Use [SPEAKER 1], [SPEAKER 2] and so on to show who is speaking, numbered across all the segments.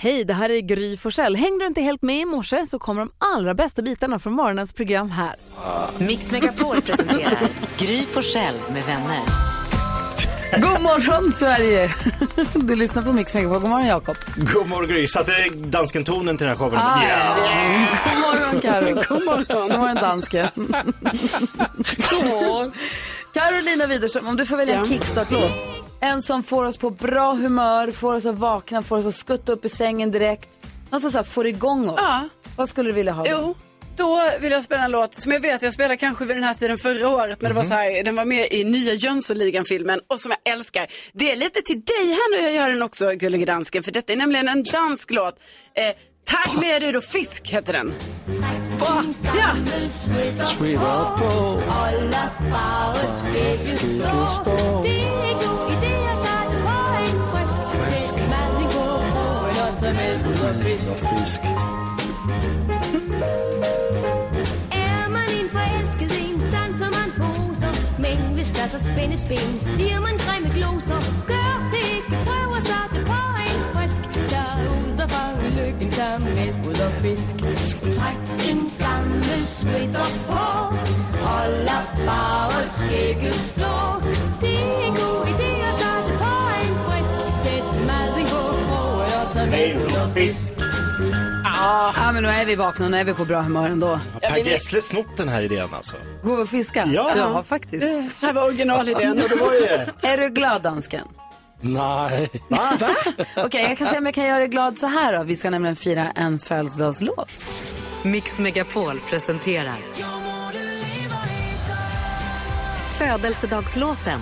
[SPEAKER 1] Hej, det här är Gry Forssell. Hängde du inte helt med i morse så kommer de allra bästa bitarna från morgonens program här.
[SPEAKER 2] Mix Megapol presenterar Gry Forssell med vänner.
[SPEAKER 1] God morgon Sverige! Du lyssnar på Mix Megapol. God morgon Jakob.
[SPEAKER 3] God morgon Gry, satte dansken tonen till den här showen?
[SPEAKER 1] Ah,
[SPEAKER 3] Ja.
[SPEAKER 1] God morgon Karo. God morgon. God morgon dansken. Carolina Widerström, om du får välja en kickstart-låt. En som får oss på bra humör, får oss att vakna, får oss att skutta upp i sängen direkt. Någon som så här får igång oss.
[SPEAKER 4] Ja.
[SPEAKER 1] Vad skulle du vilja ha? då?
[SPEAKER 4] Jo, då vill jag spela en låt som jag vet jag spelade kanske vid den här tiden förra året. Men det var
[SPEAKER 3] Mhm.
[SPEAKER 4] så här, den var med i nya Jönssonligan-filmen och som jag älskar. Det är lite till dig här nu jag gör den också, gullige dansken. För detta är nämligen en dansk låt. Eh, Tagg med dig då fisk heter den. Va? Ja,
[SPEAKER 5] Altså spænde spæn, siger man grimme gloser Gør det ikke, prøv at starte på en frisk Der er ud og fange lykken sammen med ud og fisk Træk en gammel sweater på Og lad bare skægget slå Det er en god idé at starte på en frisk Sæt maden på krogen og tag med ud og fisk
[SPEAKER 1] Ja, men nu är vi vakna, nu är vi på bra humör ändå.
[SPEAKER 3] Per Gessle snott den här idén alltså.
[SPEAKER 1] Gå och fiska?
[SPEAKER 3] Ja.
[SPEAKER 1] ja faktiskt.
[SPEAKER 4] det här var originalidén. Och det var ju...
[SPEAKER 1] Är du glad dansken?
[SPEAKER 6] Nej.
[SPEAKER 1] Okej, jag kan se om jag kan göra dig glad så här då. Vi ska nämligen fira en födelsedagslåt.
[SPEAKER 2] Mix Megapol presenterar Födelsedagslåten.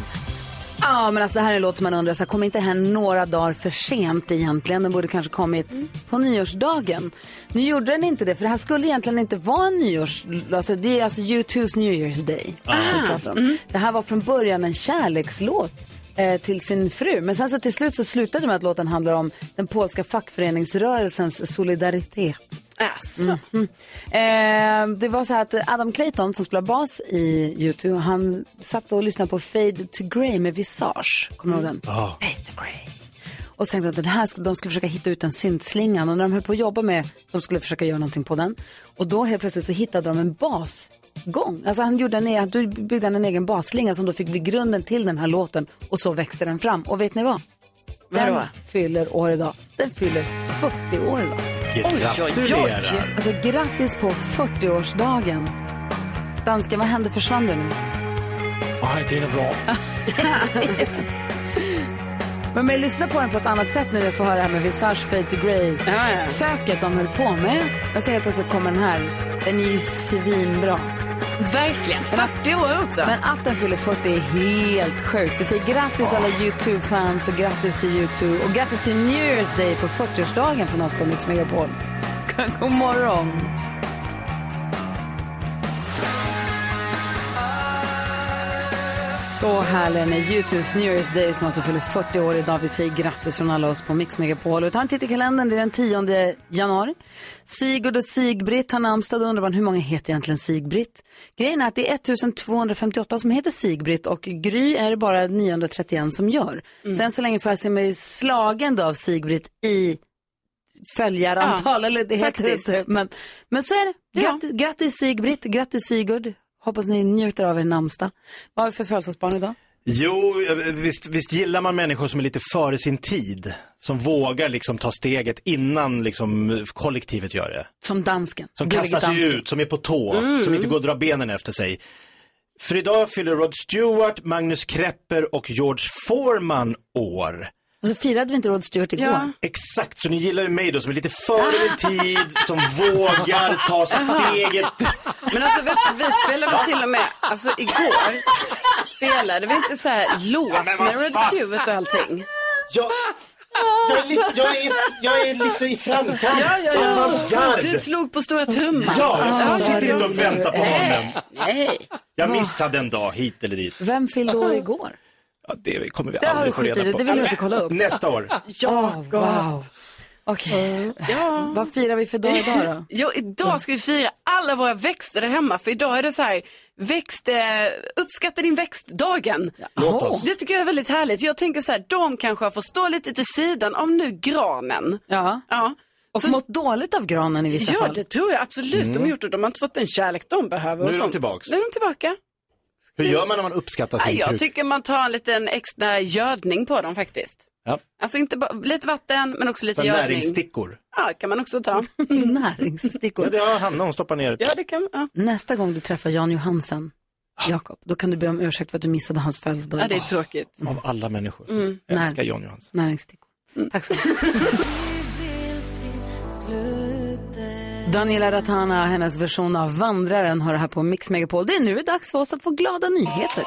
[SPEAKER 1] Ja, men alltså det här är en låt som man undrar, så här, kom inte det här några dagar för sent egentligen? Den borde kanske kommit på nyårsdagen. Nu gjorde den inte det, för det här skulle egentligen inte vara en nyårs... Alltså, det är alltså U2's New Year's Day
[SPEAKER 4] Ah,
[SPEAKER 1] som vi pratar om. Det här var från början en kärlekslåt eh, till sin fru. Men sen så till slut så slutade det med att låten handlar om den polska fackföreningsrörelsens solidaritet. Mm,
[SPEAKER 4] Alltså.
[SPEAKER 1] Eh, det var så här att Adam Clayton som spelar bas i YouTube, han satt och lyssnade på Fade to Grey med Visage. Kommer du ihåg den?
[SPEAKER 5] Ah.
[SPEAKER 1] Fade to Grey. Och så tänkte de att den här, ska- de skulle försöka hitta ut den syntslingan. Och när de höll på att jobba med, de skulle försöka göra någonting på den. Och då helt plötsligt så hittade de en basgång. Alltså han, gjorde en, e- han byggde en egen basslinga som då fick bli grunden till den här låten. Och så växte den fram. Och vet ni vad? Den
[SPEAKER 4] Vadå?
[SPEAKER 1] fyller år idag. Den fyller 40 år idag.
[SPEAKER 3] Gratulerar.
[SPEAKER 1] Alltså grattis på 40-årsdagen. Dansken, vad hände? Försvann du nu?
[SPEAKER 6] Nej, det är bra.
[SPEAKER 1] Men men lyssna på den på ett annat sätt nu när jag får höra det här med Visage Fade to Grey.
[SPEAKER 4] Ja, ja.
[SPEAKER 1] Söket de höll på med. Och så helt plötsligt kommer den här. Den är ju svinbra.
[SPEAKER 4] Verkligen. 40 år också.
[SPEAKER 1] Men att den fyller 40 är helt sjukt. Vi säger grattis alla YouTube-fans och grattis till YouTube. Och grattis till New Year's Day på 40-årsdagen från oss på Mix Megapol. God morgon! Så härlig den är YouTubes New Year's Day som alltså fyller 40 år idag. Vi säger grattis från alla oss på Mix Megapol. Och ta en titt i kalendern, det är den 10 januari. Sigurd och Sigbritt har namnsdag. Då undrar man hur många heter egentligen Sigbritt? Grejen är att det är 1258 som heter Sigbritt och Gry är det bara 931 som gör. Sen så länge får jag se mig slagen då av Sigbritt i följarantal. eller det heter det
[SPEAKER 4] faktiskt.
[SPEAKER 1] inte. Men, men så är det.
[SPEAKER 4] Ja.
[SPEAKER 1] Grattis, grattis Sigbritt, grattis Sigurd. Hoppas ni njuter av er namnsdag. Vad har vi för födelsedagsbarn idag?
[SPEAKER 3] Jo, eh, visst, visst gillar man människor som är lite före sin tid. Som vågar liksom ta steget innan liksom kollektivet gör det.
[SPEAKER 1] Som dansken.
[SPEAKER 3] Som
[SPEAKER 1] Gullig
[SPEAKER 3] kastar sig
[SPEAKER 1] dansken.
[SPEAKER 3] ut, som är på tå, som inte går att dra benen efter sig. För idag fyller Rod Stewart, Magnus Krepper och George Foreman år.
[SPEAKER 1] Och så firade vi inte Rod Stewart igår.
[SPEAKER 4] Ja.
[SPEAKER 3] Exakt, så ni gillar ju mig då som är lite före min tid, som vågar ta steget.
[SPEAKER 4] Men alltså vet du, vi spelade väl till och med, alltså igår spelade vi inte så här låt
[SPEAKER 3] men
[SPEAKER 4] med
[SPEAKER 3] vad
[SPEAKER 4] Rod
[SPEAKER 3] fan!
[SPEAKER 4] Stewart och allting?
[SPEAKER 3] Jag, jag, är, li- jag, är, jag är lite i framkant.
[SPEAKER 4] Ja, ja, ja.
[SPEAKER 3] Avantgarde.
[SPEAKER 4] Du slog på stora trumman.
[SPEAKER 3] Ja,
[SPEAKER 1] Ah,
[SPEAKER 3] jag sitter inte och väntar på honom.
[SPEAKER 4] Nej.
[SPEAKER 3] Jag missade en dag hit eller dit.
[SPEAKER 1] Vem fyllde år igår?
[SPEAKER 3] Ja, det kommer vi
[SPEAKER 1] Det har du
[SPEAKER 3] aldrig få
[SPEAKER 1] skitit
[SPEAKER 3] reda
[SPEAKER 1] i,
[SPEAKER 3] på.
[SPEAKER 1] det vill du inte kolla upp.
[SPEAKER 3] Nästa år.
[SPEAKER 4] Jakob.
[SPEAKER 1] wow. Okej.
[SPEAKER 4] Ja.
[SPEAKER 1] Vad firar vi för dag idag då?
[SPEAKER 4] Jo, idag ska vi fira alla våra växter där hemma. För idag är det så här, växt, eh, uppskatta din växtdagen.
[SPEAKER 3] Låt oss.
[SPEAKER 4] Det tycker jag är väldigt härligt. Jag tänker så här, de kanske får stå lite till sidan av nu granen.
[SPEAKER 1] Ja.
[SPEAKER 4] Ja,
[SPEAKER 1] Och
[SPEAKER 4] Så-
[SPEAKER 1] mått dåligt av granen i vissa
[SPEAKER 4] ja
[SPEAKER 1] fall.
[SPEAKER 4] det tror jag absolut de har gjort. Och de har inte fått den kärlek de
[SPEAKER 3] Mm. Nu
[SPEAKER 4] behöver. och
[SPEAKER 3] är de
[SPEAKER 4] sånt.
[SPEAKER 3] tillbaks.
[SPEAKER 4] Nu är de tillbaka.
[SPEAKER 3] Hur gör man när man uppskattar sin
[SPEAKER 4] Nej, jag
[SPEAKER 3] kruk?
[SPEAKER 4] tycker man tar en liten extra gödning på dem faktiskt.
[SPEAKER 3] Ja.
[SPEAKER 4] Alltså inte bara, lite vatten men också lite
[SPEAKER 3] Sådana
[SPEAKER 4] gödning.
[SPEAKER 3] Näringsstickor.
[SPEAKER 4] Ja, kan man också ta.
[SPEAKER 1] Näringsstickor.
[SPEAKER 3] Ja, det har Hanna, hon stoppar ner.
[SPEAKER 4] Ja, det kan ja.
[SPEAKER 1] Nästa gång du träffar Jan Johansen,
[SPEAKER 3] Ah.
[SPEAKER 1] Jakob, då kan du be om ursäkt för att du missade hans födelsedag.
[SPEAKER 4] ja, det är tråkigt.
[SPEAKER 3] Av alla människor.
[SPEAKER 1] Mm.
[SPEAKER 3] Jag älskar John Johansson.
[SPEAKER 1] Näringsstickor. Tack så mycket. Daniela Ratana, hennes version av Vandraren, har det här på Mix Megapol. Det är nu det är dags för oss att få glada nyheter.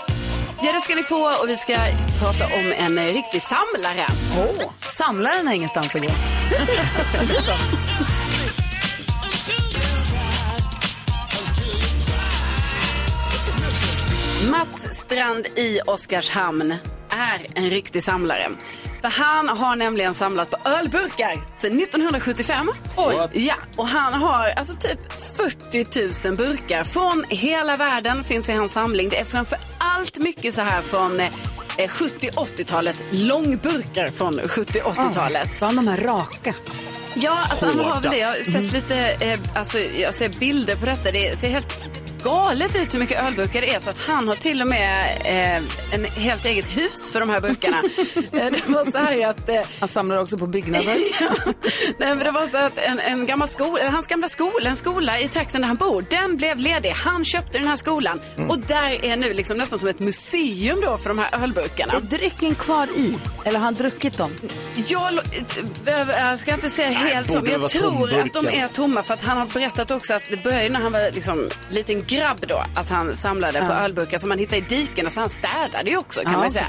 [SPEAKER 4] Ja, det ska ni få och vi ska prata om en eh, riktig samlare.
[SPEAKER 1] Oh. Samlaren har ingenstans att gå.
[SPEAKER 4] Precis, precis så. Mats Strand i Oskarshamn är en riktig samlare. För han har nämligen samlat på ölburkar sedan 1975. Oj. Ja, och han har alltså typ 40 000 burkar från hela världen finns i hans samling. Det är framför allt mycket så här från eh, 70-80-talet. Långburkar från 70-80-talet.
[SPEAKER 1] Bland Ah, de här raka.
[SPEAKER 4] Ja, alltså han har väl
[SPEAKER 3] Hårda.
[SPEAKER 4] det. Jag har sett lite, eh, alltså jag ser bilder på detta. Det ser helt galet ut hur mycket ölburkar det är så att han har till och med eh, en helt eget hus för de här burkarna. Eh, det var så här ju att eh,
[SPEAKER 1] Han samlar också på byggnader.
[SPEAKER 4] Nej, men det var så att en, en gammal skola, eller hans gamla skola, en skola i trakten där han bor, den blev ledig. Han köpte den här skolan
[SPEAKER 1] Mm.
[SPEAKER 4] och där är nu liksom nästan som ett museum då för de här ölburkarna.
[SPEAKER 1] Är drycken kvar i? Eller har han druckit dem?
[SPEAKER 4] Jag, lo- t- ö- ö- ska inte säga helt så,
[SPEAKER 3] borde
[SPEAKER 4] men jag
[SPEAKER 3] vara
[SPEAKER 4] tror
[SPEAKER 3] tomburkar.
[SPEAKER 4] att de är tomma för att han har berättat också att det började när han var liksom liten grabb då, att han samlade på ölburkar som han hittade i diken och så han städade ju också kan
[SPEAKER 1] Ja,
[SPEAKER 4] man ju säga.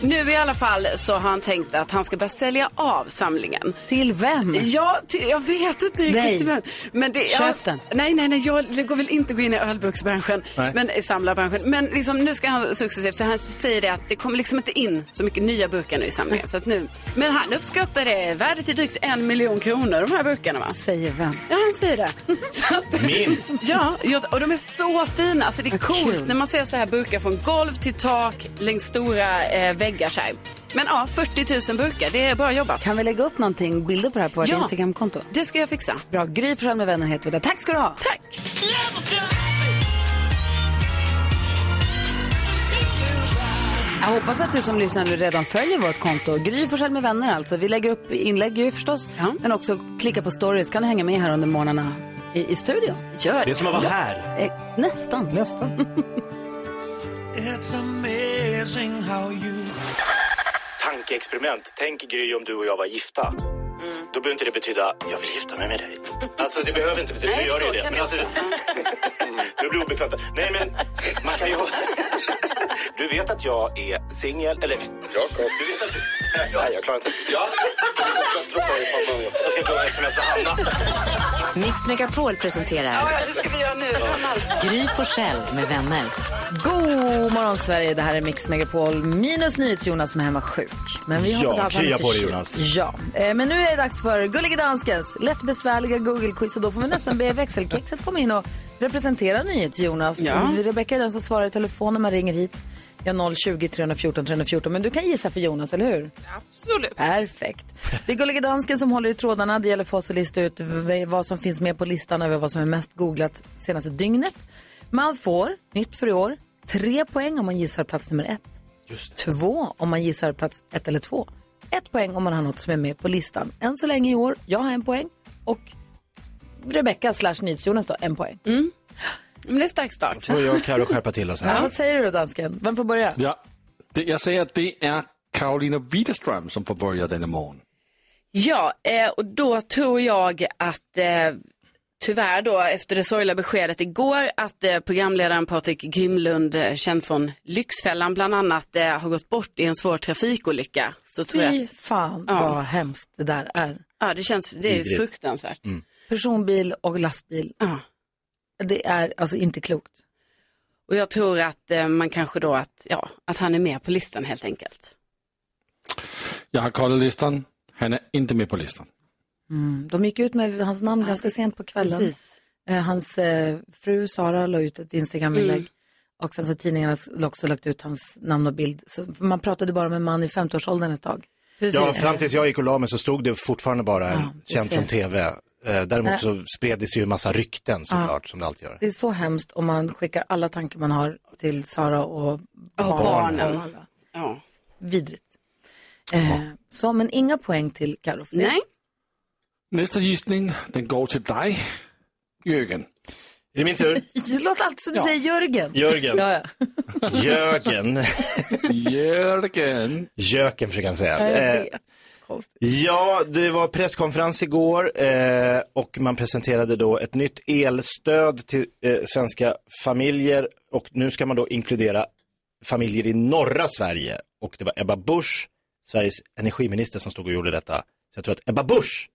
[SPEAKER 3] Mm.
[SPEAKER 4] Nu i alla fall så har han tänkt att han ska börja sälja av samlingen.
[SPEAKER 1] Till vem?
[SPEAKER 4] Ja, ty- jag vet inte
[SPEAKER 1] Nej.
[SPEAKER 4] riktigt. Men, men det,
[SPEAKER 1] Köp
[SPEAKER 4] jag,
[SPEAKER 1] den.
[SPEAKER 4] Nej, nej, nej. Jag det går väl inte gå in i ölburksbranschen.
[SPEAKER 3] Nej.
[SPEAKER 4] Men i samlarbranschen. Men liksom, nu ska han successivt, för han säger det att det kommer liksom inte in så mycket nya burkar nu i samlingen. Så att nu, men han uppskattar det värdet till drygt en miljon kronor, de här burkarna va?
[SPEAKER 1] Säger vem?
[SPEAKER 4] Ja, han säger det. Så att,
[SPEAKER 3] Minst.
[SPEAKER 4] Ja, ja, och de är så fina. Alltså det är
[SPEAKER 1] Vad
[SPEAKER 4] coolt
[SPEAKER 1] kul.
[SPEAKER 4] när man ser så här burkar från golv till tak längs stora eh, väggar så här. Men ja, 40 000 burkar, det är bra jobbat.
[SPEAKER 1] Kan vi lägga upp någonting, bilder på det här på vårt
[SPEAKER 4] Ja.
[SPEAKER 1] Instagramkonto?
[SPEAKER 4] Det ska jag fixa.
[SPEAKER 1] Bra, Gry Forssell med vänner heter vi där. Tack ska du ha!
[SPEAKER 4] Tack!
[SPEAKER 1] Jag hoppas att du som lyssnar nu redan följer vårt konto. Gry Forssell med vänner alltså. Vi lägger upp inlägg ju förstås.
[SPEAKER 4] Ja.
[SPEAKER 1] Men också klicka på stories. Kan du hänga med här under morgnarna i, i studion?
[SPEAKER 4] Gör
[SPEAKER 3] Det är som att vara här.
[SPEAKER 1] Eh, nästan.
[SPEAKER 3] Nästan. Tankeexperiment. Tänk Gry om du och jag var gifta.
[SPEAKER 1] Mm.
[SPEAKER 3] Då behöver inte det betyda jag vill gifta mig med dig. Alltså det behöver inte betyda, nu gör det ju det. Men alltså, nu blir det obekvämt. Nej men man kan ju... Du vet att jag är singel, eller...
[SPEAKER 7] Jakob.
[SPEAKER 3] Du vet att... Nej, jag klarar inte. Ja,
[SPEAKER 7] Jag ska droppa i pannan.
[SPEAKER 3] jag ska gå och smsa Hanna.
[SPEAKER 8] Mix Megapol presenterar
[SPEAKER 4] Hur ska vi göra nu?
[SPEAKER 8] Gry på själv med vänner.
[SPEAKER 1] God morgon Sverige, det här är Mix Megapol minus NyhetsJonas som är hemma sjuk. Men vi
[SPEAKER 3] Ja,
[SPEAKER 1] hoppas att han
[SPEAKER 3] krya
[SPEAKER 1] är
[SPEAKER 3] på dig,
[SPEAKER 1] förkyld.
[SPEAKER 3] Jonas.
[SPEAKER 1] Ja, eh, men nu är det dags för Gullige Danskens lätt besvärliga Google-quiz och då får vi nästan be växelkexet komma in och representera NyhetsJonas.
[SPEAKER 4] Ja.
[SPEAKER 1] Rebecka är den som svarar i telefon när man ringer hit. Ja, 020 314 314, men du kan gissa för Jonas, eller hur?
[SPEAKER 4] Absolut.
[SPEAKER 1] Perfekt. Det är Gullige Dansken som håller i trådarna. Det gäller för oss att lista ut v- vad som finns med på listan över vad som är mest googlat senaste dygnet. Man får, nytt för i år, tre poäng om man gissar plats nummer ett. Två om man gissar plats ett eller två. Ett poäng om man har något som är med på listan. Än så länge i år, jag har en poäng och Rebecka slash Jonas då, en poäng.
[SPEAKER 4] Mm. Men det är stark start.
[SPEAKER 3] Får jag och Carro skärpa till oss här?
[SPEAKER 1] Vad säger du då dansken? Vem får börja?
[SPEAKER 6] Ja. Det, jag säger att det är Karolina Widerström som får börja denna morgon.
[SPEAKER 4] Ja, eh, och då tror jag att eh, tyvärr då efter det sorgliga beskedet igår att eh, programledaren Patrik Grimlund, eh, känd från Lyxfällan bland annat, eh, har gått bort i en svår trafikolycka. Så tror jag
[SPEAKER 1] Fy
[SPEAKER 4] att,
[SPEAKER 1] fan
[SPEAKER 4] Ja.
[SPEAKER 1] vad hemskt det där är.
[SPEAKER 4] ja, det känns, det är ju
[SPEAKER 3] Vidrigt. Mm.
[SPEAKER 4] fruktansvärt.
[SPEAKER 1] Personbil och lastbil,
[SPEAKER 4] Ja.
[SPEAKER 1] det är alltså inte klokt.
[SPEAKER 4] Och jag tror att eh, man kanske då att, ja, att han är med på listan helt enkelt.
[SPEAKER 6] Jag har kollat listan. Han är inte med på listan.
[SPEAKER 1] Mm. De gick ut med hans namn ganska sent på kvällen.
[SPEAKER 4] precis.
[SPEAKER 1] Eh, Hans eh, fru Sara la ut ett Instagram-inlägg.
[SPEAKER 4] Mm.
[SPEAKER 1] Och sen så har tidningarna s- också lagt ut hans namn och bild. Så för man pratade bara med en man i 50-årsåldern ett tag.
[SPEAKER 4] Precis.
[SPEAKER 3] Ja, fram tills jag gick och la mig så stod det fortfarande bara en känd från tv. Eh, Däremot så spred det sig ju en massa rykten såklart, som det alltid gör.
[SPEAKER 1] Det är så hemskt om man skickar alla tankar man har till Sara och barnen.
[SPEAKER 4] barnen.
[SPEAKER 1] Och alla.
[SPEAKER 4] Ja.
[SPEAKER 1] Vidrigt. Eh, så, men inga poäng till Carro. för det.
[SPEAKER 4] Nej,
[SPEAKER 6] Nästa gissning, den går till dig, Jörgen.
[SPEAKER 3] Är det min tur?
[SPEAKER 1] Det låter alltid som du säger Jörgen.
[SPEAKER 3] Jörgen.
[SPEAKER 1] Ja, ja.
[SPEAKER 3] Jörgen.
[SPEAKER 6] Jörgen.
[SPEAKER 3] Jöken försöker han säga.
[SPEAKER 1] Jag
[SPEAKER 3] Eh,
[SPEAKER 1] vet. Konstigt.
[SPEAKER 3] Ja, det var presskonferens igår eh, och man presenterade då ett nytt elstöd till eh, svenska familjer och nu ska man då inkludera familjer i norra Sverige och det var Ebba Busch, Sveriges energiminister som stod och gjorde detta. Så jag tror att Ebba Busch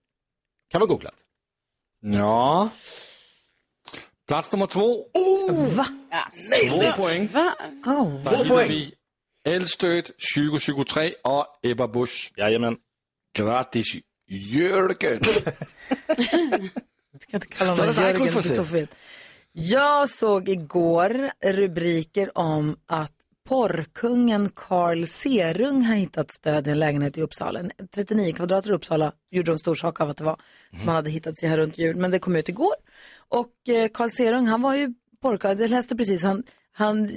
[SPEAKER 3] kan vara googlat.
[SPEAKER 6] Ja. Plats nummer två. Oh! Två poäng.
[SPEAKER 1] Oh.
[SPEAKER 6] Där hittar vi Elstöd 2023 och Ebba Busch.
[SPEAKER 3] Jajamän.
[SPEAKER 6] Grattis, Jörgen.
[SPEAKER 1] Du kan inte kalla
[SPEAKER 6] Så
[SPEAKER 1] honom
[SPEAKER 6] det där
[SPEAKER 1] Jörgen,
[SPEAKER 6] kommer
[SPEAKER 1] det
[SPEAKER 6] få
[SPEAKER 1] är
[SPEAKER 6] se.
[SPEAKER 1] så fet. Jag såg igår rubriker om att porrkungen Carl Serung har hittat stöd i en lägenhet i Uppsala. En 39 kvadrat i Uppsala gjorde de stor sak av att det var
[SPEAKER 6] Mm.
[SPEAKER 1] som han hade hittat sig här runt jul. Men det kom ut igår. Och eh, Carl Serung, han var ju porrkung. Jag läste precis, han, han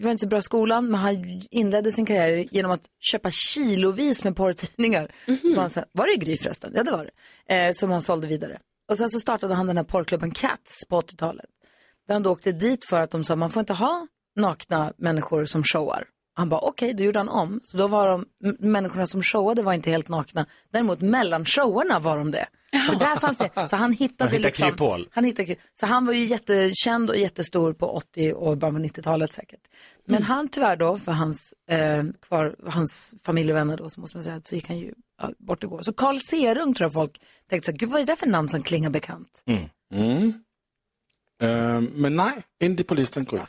[SPEAKER 1] var inte så bra i skolan, men han inledde sin karriär genom att köpa kilovis med porrtidningar. Som han sen, var det i Gry förresten? Ja, det var det. Eh, som han sålde vidare. Och sen så startade han den här porrklubben Cats på 80-talet. Där han då åkte dit för att de sa, man får inte ha nakna människor som showar. Han bara, okej, då gjorde han om. Så då var de, m- människorna som showade var inte helt nakna. Däremot mellan showerna var de det. För där fanns det. Så han hittade
[SPEAKER 3] Man hittar
[SPEAKER 1] liksom...
[SPEAKER 3] kryphål.
[SPEAKER 1] Han hittade, kul. så han var ju jättekänd och jättestor på 80 och början på 90-talet säkert. Men han tyvärr då, för hans, eh, kvar, hans familj och vänner då, så måste man säga att så gick han ju ja, bort igår. Så Carl Serung tror jag folk tänkte så här, gud vad är det där för namn som klingar bekant?
[SPEAKER 6] Mm. Ehm, men nej, inte på listan, Gry.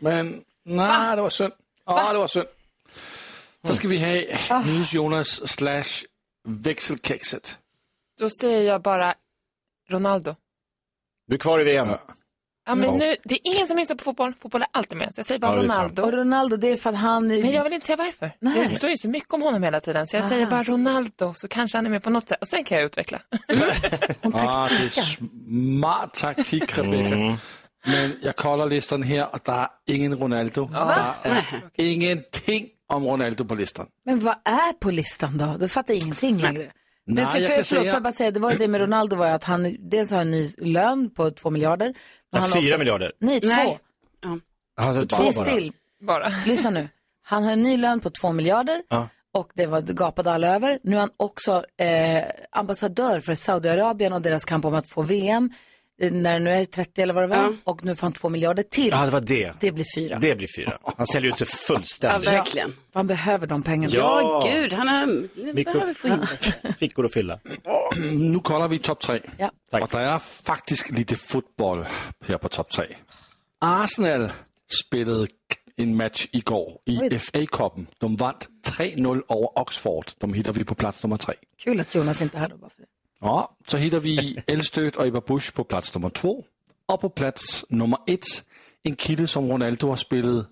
[SPEAKER 6] Men nej, det var synd. Ja, det var synd. Så ska vi ha NyhetsJonas slash växelkexet.
[SPEAKER 9] Då säger jag bara Ronaldo.
[SPEAKER 3] Du är kvar i VM.
[SPEAKER 9] Ja, men
[SPEAKER 6] Ja.
[SPEAKER 9] nu, det är ingen som gissar på fotboll. Fotboll är alltid med. Så jag säger bara
[SPEAKER 3] Ja, det är sant.
[SPEAKER 9] Ronaldo.
[SPEAKER 1] Och Ronaldo, det är för att han...
[SPEAKER 9] Men jag vill inte säga varför.
[SPEAKER 1] Nej.
[SPEAKER 9] Det står ju så mycket om honom hela tiden. Så jag säger bara Ronaldo, så kanske han är med på något sätt. Och sen kan jag utveckla.
[SPEAKER 6] Ah, det är smart taktik, Rebecca.
[SPEAKER 3] Mm.
[SPEAKER 6] Men jag kollar listan här och det är ingen Ronaldo. Det är ingenting om Ronaldo på listan.
[SPEAKER 1] Men vad är på listan då? Då fattar jag ingenting längre. Nej,
[SPEAKER 6] Nej,
[SPEAKER 1] för,
[SPEAKER 6] jag
[SPEAKER 1] för,
[SPEAKER 6] kan
[SPEAKER 1] förlåt,
[SPEAKER 6] säga-
[SPEAKER 1] får jag bara säga, det var ju det med Ronaldo var ju att han dels har en ny lön på två miljarder. Men
[SPEAKER 3] Ja,
[SPEAKER 1] han har
[SPEAKER 3] fyra
[SPEAKER 1] också...
[SPEAKER 3] miljarder.
[SPEAKER 1] Nej, två.
[SPEAKER 4] Nej.
[SPEAKER 3] Alltså,
[SPEAKER 1] Be still.
[SPEAKER 9] Bara.
[SPEAKER 1] Lyssna nu. Han har en ny lön på två miljarder
[SPEAKER 3] Ja.
[SPEAKER 1] och det var, det gapade alla över. Nu är han också eh, ambassadör för Saudiarabien och deras kamp om att få VM. eh, När det nu är 30 eller vad det var. Och nu får han två miljarder till.
[SPEAKER 3] Ja, det var det.
[SPEAKER 1] Det blir fyra.
[SPEAKER 3] Det blir fyra. Han säljer ut sig
[SPEAKER 4] ja,
[SPEAKER 3] fullständigt.
[SPEAKER 4] verkligen.
[SPEAKER 1] Han behöver de pengarna.
[SPEAKER 4] Ja, gud, han har...
[SPEAKER 3] Mikro-
[SPEAKER 4] behöver få in det.
[SPEAKER 3] Fickor att fylla.
[SPEAKER 6] Nu kollar vi topp tre.
[SPEAKER 1] Ja.
[SPEAKER 3] Tack.
[SPEAKER 6] Och det är faktiskt lite fotboll här på topp tre. Arsenal spelade en match igår i FA-cupen. De vann 3-0 över Oxford. De hittar vi på plats nummer tre.
[SPEAKER 1] Kul att Jonas inte är här då. Bara för det.
[SPEAKER 6] Ja, så hittar vi Elstöt och Ebba Busch på plats nummer två. Och på plats nummer ett, en kille som Ronaldo har spelat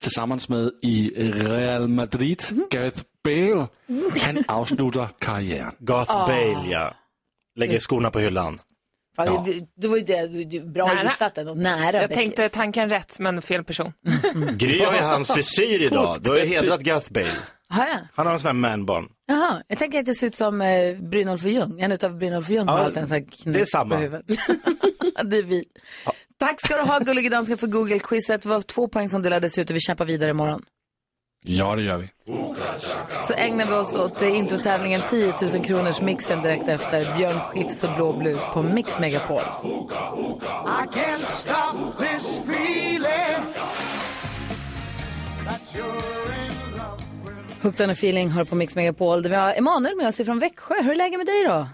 [SPEAKER 6] tillsammans med i Real Madrid,
[SPEAKER 4] Mhm.
[SPEAKER 6] Gareth Bale. Han avslutar karriären.
[SPEAKER 3] Garth Bale, ja. Lägger skorna på hyllan.
[SPEAKER 1] Fan, det, det var ju det, du- du- bra
[SPEAKER 9] Nära.
[SPEAKER 1] gissat ändå. Nära.
[SPEAKER 9] Jag
[SPEAKER 1] Becky.
[SPEAKER 9] tänkte tanken rätt, men fel person.
[SPEAKER 3] Mm. Gry har ju hans frisyr idag. Du har ju hedrat Garth Bale.
[SPEAKER 1] Har jag?
[SPEAKER 3] Han har en sån här manbarn.
[SPEAKER 1] Jaha, jag tänker att det ser ut som eh, Brynolf och Ljung. En utav Brynolf och Ljung har
[SPEAKER 3] Ja,
[SPEAKER 1] alltid en sån här knut
[SPEAKER 3] det är samma.
[SPEAKER 1] på huvudet. det är vi. Tack ska du ha gullige dansken för Google-quizet. Det var två poäng som delades ut och vi kämpar vidare imorgon.
[SPEAKER 6] Ja, det gör vi.
[SPEAKER 1] Så ägnar vi oss åt eh, introtävlingen 10 000 kronors mixen direkt efter Björn Skifs och Blå Blues på Mix Megapol. Hooked on a feeling hör på Mix Megapol där vi har Emanuel med oss från Växjö. Hur är läget med dig då?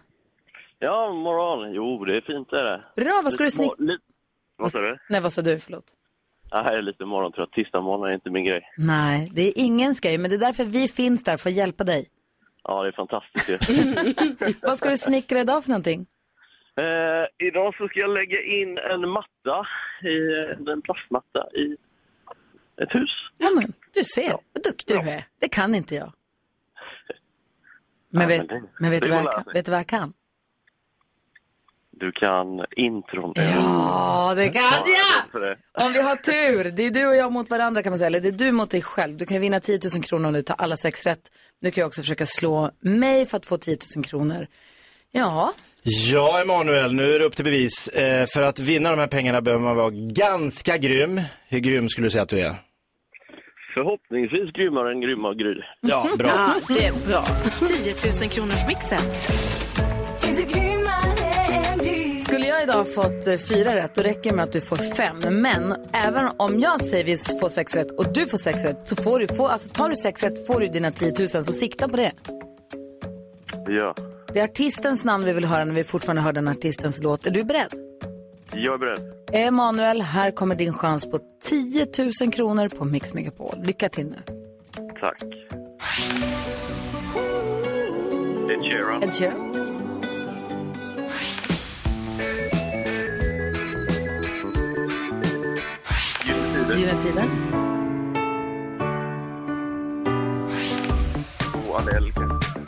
[SPEAKER 10] Ja, morgon. Jo, det är fint är det.
[SPEAKER 1] Bra, vad ska du snick...
[SPEAKER 10] Lite... Vad sa du?
[SPEAKER 1] Nej, vad sa du? Förlåt.
[SPEAKER 10] Ja, jag är lite morgontrött. Tisdagsmorgnar är inte min grej.
[SPEAKER 1] Nej, det är ingens grej, men det är därför vi finns där för att hjälpa dig.
[SPEAKER 10] Ja, det är fantastiskt ju.
[SPEAKER 1] Vad ska du snickra idag för någonting?
[SPEAKER 10] Eh, idag så ska jag lägga in en matta, i, en plastmatta i ett hus.
[SPEAKER 11] Ja, men, du ser, vad duktig du är. Det kan inte jag. Men
[SPEAKER 10] Ja,
[SPEAKER 11] vet,
[SPEAKER 10] men det-
[SPEAKER 11] men vet,
[SPEAKER 10] det
[SPEAKER 11] du, vad
[SPEAKER 10] går
[SPEAKER 11] jag,
[SPEAKER 10] att lära
[SPEAKER 11] kan-
[SPEAKER 10] sig.
[SPEAKER 11] vet du vad jag kan?
[SPEAKER 10] Du kan intron.
[SPEAKER 1] Ja, det kan jag!
[SPEAKER 10] För det.
[SPEAKER 1] Om vi har tur, det är du och jag mot varandra kan man säga, eller det är du mot dig själv. Du kan ju vinna 10 000 kronor om du tar alla sex rätt. Du kan ju också försöka slå mig för att få 10 000 kronor. Ja,
[SPEAKER 3] Ja, Emanuel, nu är det upp till bevis. Eh, för att vinna de här pengarna behöver man vara ganska grym. Hur grym skulle du säga att du är?
[SPEAKER 10] Förhoppningsvis grymmare än grymma Gry.
[SPEAKER 3] Ja, bra. Ja,
[SPEAKER 4] det är bra.
[SPEAKER 2] 10 000 kronors mixen.
[SPEAKER 1] Skulle jag idag fått eh, fyra rätt, då räcker det med att du får fem. Men även om jag säger vi får sex rätt och du får sex rätt, så får du få, alltså tar du sex rätt får du dina 10 000, så sikta på det.
[SPEAKER 10] Ja,
[SPEAKER 1] Det är artistens namn vi vill höra när vi fortfarande hör den artistens låt. Är du beredd?
[SPEAKER 10] jag är beredd.
[SPEAKER 1] Emanuel, här kommer din chans på 10 000 kronor på Mix Megapol. Lycka till nu.
[SPEAKER 10] Tack. Ed Sheeran.
[SPEAKER 1] Ed Sheeran. Gyllene Tider.
[SPEAKER 10] Och Adele kanske.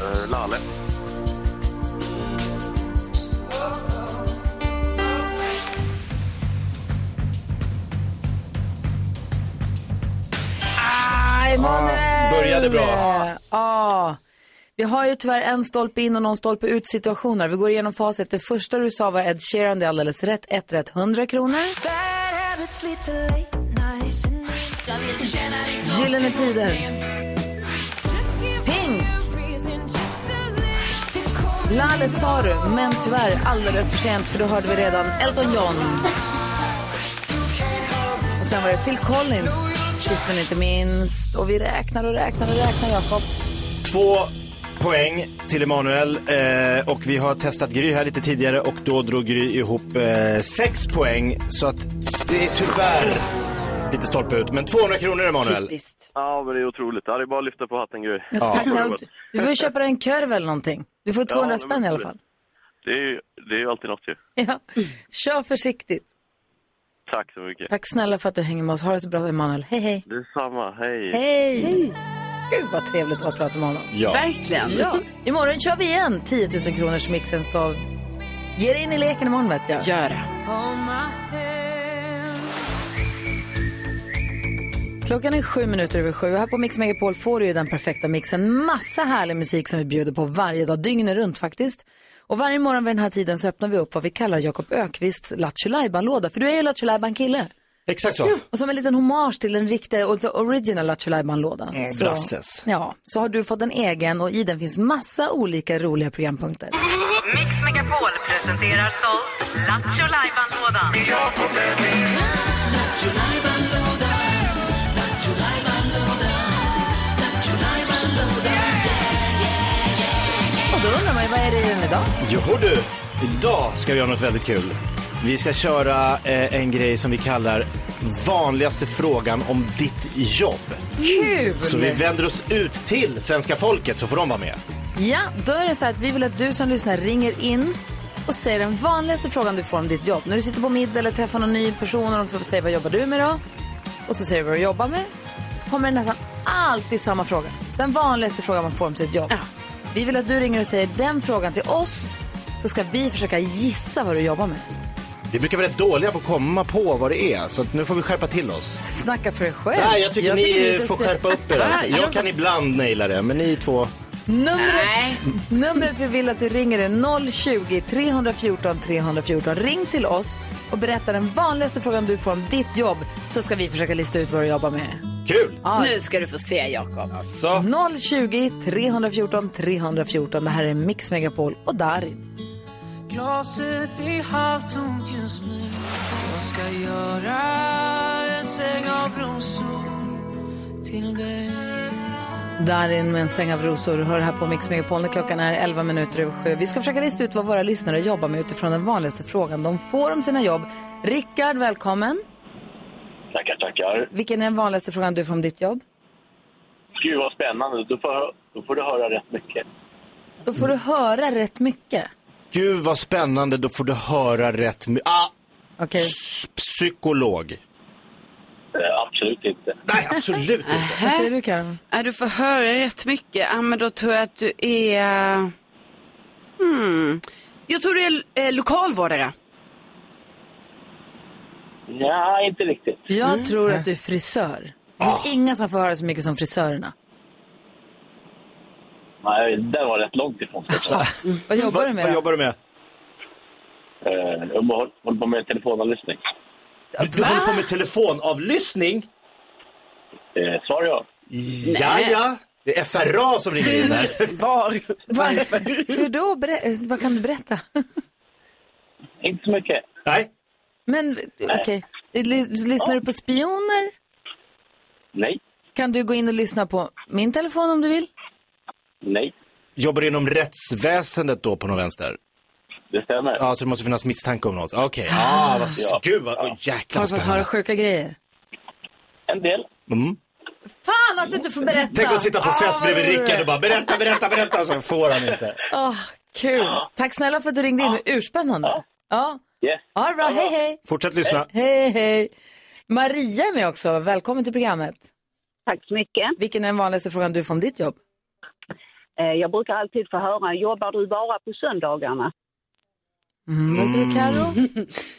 [SPEAKER 10] Eh, Laleh.
[SPEAKER 1] Ah, Emanuel!
[SPEAKER 3] började bra.
[SPEAKER 1] Ja. Vi har ju tyvärr en stolpe in och någon stolpe ut situationer. Vi går igenom facit. Det första du sa var Ed Sheeran, det är alldeles rätt. Ett rätt, 100 kronor. Gyllene Tider. Pink. Lale sa du, men tyvärr alldeles för sent för då hörde vi redan Elton John. Och sen var det Phil Collins, sist men inte minst. Och vi räknar och räknar och räknar, Jakob.
[SPEAKER 3] Två poäng till Emanuel eh, och vi har testat Gry här lite tidigare och då drog Gry ihop eh, sex poäng så att det är tyvärr lite stolpe ut. Men 200 kronor Emanuel.
[SPEAKER 10] Ja, men det är otroligt. Ja, det är bara att lyfta på hatten, Gry.
[SPEAKER 1] Ja, tack snälla. Du får ju köpa dig en korv eller någonting. Du får 200
[SPEAKER 10] Ja,
[SPEAKER 1] spänn i alla fall.
[SPEAKER 10] Det är ju det är ju alltid något ju.
[SPEAKER 1] Ja. Kör försiktigt.
[SPEAKER 10] Tack så mycket.
[SPEAKER 1] Tack snälla för att du hänger med oss. Ha det så bra, Emanuel. Hej, hej.
[SPEAKER 10] Detsamma. Hej.
[SPEAKER 1] Hej! Gud vad trevligt det var att prata med honom.
[SPEAKER 10] Ja.
[SPEAKER 4] Verkligen.
[SPEAKER 1] Ja. Imorgon kör vi igen 10 000 kronors mixen så ge dig in i leken imorgon vet jag.
[SPEAKER 4] Gör det.
[SPEAKER 1] Klockan är sju minuter över sju och här på Mix Megapol får du ju den perfekta mixen. Massa härlig musik som vi bjuder på varje dag, dygnet runt faktiskt. Och varje morgon vid den här tiden så öppnar vi upp vad vi kallar Jakob Ökvists Lattjo Lajban-låda. För du är ju Lattjo Lajban-kille.
[SPEAKER 3] Exakt så.
[SPEAKER 1] Och som en liten hommage till den riktiga och the original Lattjo Lajban-lådan.
[SPEAKER 3] Mm,
[SPEAKER 1] Så-
[SPEAKER 3] brasses.
[SPEAKER 1] Ja, så har du fått en egen och i den finns massa olika roliga programpunkter.
[SPEAKER 2] Mix Megapol presenterar stolt Lattjo Lajban-lådan.
[SPEAKER 1] Och då undrar man ju, vad är det i den idag?
[SPEAKER 3] Joho du, idag ska vi göra något väldigt kul. Vi ska köra eh, en grej som vi kallar vanligaste frågan om ditt jobb.
[SPEAKER 1] Kul!
[SPEAKER 3] Så vi vänder oss ut till svenska folket så får de vara med.
[SPEAKER 1] Ja, då är det så här att vi vill att du som lyssnar ringer in och säger den vanligaste frågan du får om ditt jobb. När du sitter på middag eller träffar någon ny person och de får säga vad jobbar du med då? Och så säger du vad du jobbar med. Så kommer det nästan alltid samma fråga. Den vanligaste frågan man får om sitt jobb. Vi vill att du ringer och säger den frågan till oss så ska vi försöka gissa vad du jobbar med.
[SPEAKER 3] Vi brukar vara rätt dåliga på att komma på vad det är så att nu får vi skärpa till oss.
[SPEAKER 1] Snacka för dig själv.
[SPEAKER 3] Nej, jag tycker ni
[SPEAKER 1] är
[SPEAKER 3] får
[SPEAKER 1] duktiga.
[SPEAKER 3] skärpa upp er. Alltså. Jag kan ibland naila det, men ni två...
[SPEAKER 1] Numret, numret vi vill att du ringer är 020 314 314. Ring till oss och berätta den vanligaste frågan du får om ditt jobb så ska vi försöka lista ut vad du jobbar med.
[SPEAKER 3] Kul!
[SPEAKER 4] Nu ska du få se, Jakob.
[SPEAKER 1] 020 314 314. Det här är Mix Megapol och Darin.
[SPEAKER 5] Glaset är halvtomt just nu Jag ska göra en säng av rosor till dig
[SPEAKER 1] Darin med en säng av rosor hör här på Mix Megapol när klockan är 11 minuter över 7. Vi ska försöka lista ut vad våra lyssnare jobbar med utifrån den vanligaste frågan de får om sina jobb. Rickard, välkommen.
[SPEAKER 12] Tackar, tackar.
[SPEAKER 1] Vilken är den vanligaste frågan du får om ditt jobb?
[SPEAKER 10] Gud vad spännande. Då får, då får du höra rätt mycket.
[SPEAKER 1] Då får du höra rätt mycket.
[SPEAKER 3] Gud vad spännande, då får du höra rätt my- ah,
[SPEAKER 1] Okej.
[SPEAKER 3] Psykolog.
[SPEAKER 10] Eh, absolut inte.
[SPEAKER 3] Nej, absolut inte.
[SPEAKER 1] Vad säger du Karin?
[SPEAKER 4] Ja, du får höra rätt mycket. Ja, men då tror jag att du är... Hmm. Jag tror du är eh, lokalvårdare.
[SPEAKER 10] Ja, inte riktigt.
[SPEAKER 1] Jag
[SPEAKER 3] Mm.
[SPEAKER 4] Mm.
[SPEAKER 1] tror att du är frisör. Det finns
[SPEAKER 3] Ah.
[SPEAKER 1] inga som får höra så mycket som frisörerna.
[SPEAKER 10] Nej, det var rätt långt ifrån.
[SPEAKER 1] Vad jobbar du med? då?
[SPEAKER 3] du med?
[SPEAKER 10] Eh, jag håller håller på med telefonavlyssning.
[SPEAKER 3] Du, du håller på med telefonavlyssning?
[SPEAKER 10] Eh, svar ja.
[SPEAKER 3] Ja, ja. Det är FRA som ringer in här.
[SPEAKER 4] Var? Varför?
[SPEAKER 1] Hur då? Berä- vad kan du berätta?
[SPEAKER 10] Inte så mycket.
[SPEAKER 3] Nej.
[SPEAKER 1] Men okej, Lys- lyssnar du på spioner?
[SPEAKER 10] Nej.
[SPEAKER 1] Kan du gå in och lyssna på min telefon om du vill?
[SPEAKER 10] Nej.
[SPEAKER 3] Jobbar du inom rättsväsendet då på någon vänster?
[SPEAKER 10] Det stämmer.
[SPEAKER 3] Ja, så det måste finnas misstanke om något. Okej. Ah, vad,
[SPEAKER 10] Ja.
[SPEAKER 3] gud vad, oh, jäklar
[SPEAKER 1] Har
[SPEAKER 3] vad
[SPEAKER 1] du fått
[SPEAKER 3] spännande.
[SPEAKER 1] höra sjuka grejer?
[SPEAKER 10] En del.
[SPEAKER 3] Mm.
[SPEAKER 1] Fan att du inte får berätta!
[SPEAKER 3] Tänk att sitta på fest
[SPEAKER 1] Ah, vad
[SPEAKER 3] bredvid
[SPEAKER 1] roligt.
[SPEAKER 3] Rickard och bara berätta, berätta, berätta. Så får han inte.
[SPEAKER 1] Åh, Ah, kul. Tack snälla för att du ringde
[SPEAKER 3] Ah.
[SPEAKER 1] in. Urspännande. Ja.
[SPEAKER 10] Yes.
[SPEAKER 1] Ha det bra. Hej, hej.
[SPEAKER 3] Fortsätt lyssna.
[SPEAKER 1] Hej, hej. Maria är med också. Välkommen till programmet.
[SPEAKER 12] Tack så mycket.
[SPEAKER 1] Vilken är den vanligaste frågan du får om ditt jobb?
[SPEAKER 12] Eh, Jag brukar alltid få höra, jobbar du bara på söndagarna?
[SPEAKER 1] Mm. Vad tror du, Karo?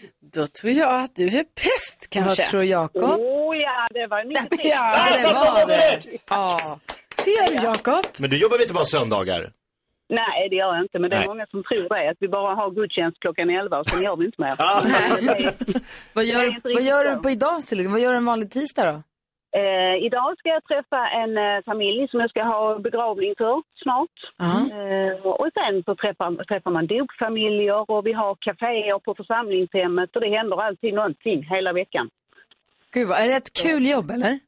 [SPEAKER 4] Då tror jag att du är pest kanske. Mm.
[SPEAKER 1] Vad tror Jakob?
[SPEAKER 12] Oh, ja, det var mycket tid.
[SPEAKER 4] Ja,
[SPEAKER 3] Där satt de direkt!
[SPEAKER 1] Ja.
[SPEAKER 4] ser du Jakob?
[SPEAKER 3] Men du jobbar väl inte bara söndagar?
[SPEAKER 12] Nej, det gör jag inte, men det är
[SPEAKER 3] Nej.
[SPEAKER 12] många som tror det, att vi bara har gudstjänst klockan 11 och sen gör vi inte mer.
[SPEAKER 3] Ah.
[SPEAKER 1] Vad
[SPEAKER 12] Det
[SPEAKER 1] gör,
[SPEAKER 12] är inte
[SPEAKER 1] du- vad gör du
[SPEAKER 12] riktigt
[SPEAKER 1] på idag? till exempel? Vad gör du en vanlig tisdag då?
[SPEAKER 12] Eh, idag ska jag träffa en eh, familj som jag ska ha begravning för snart. Eh, och sen så träffar, träffar man dopfamiljer och vi har kaféer på församlingshemmet och det händer alltid någonting hela veckan.
[SPEAKER 1] Gud, vad- är det ett kul jobb eller? Mm.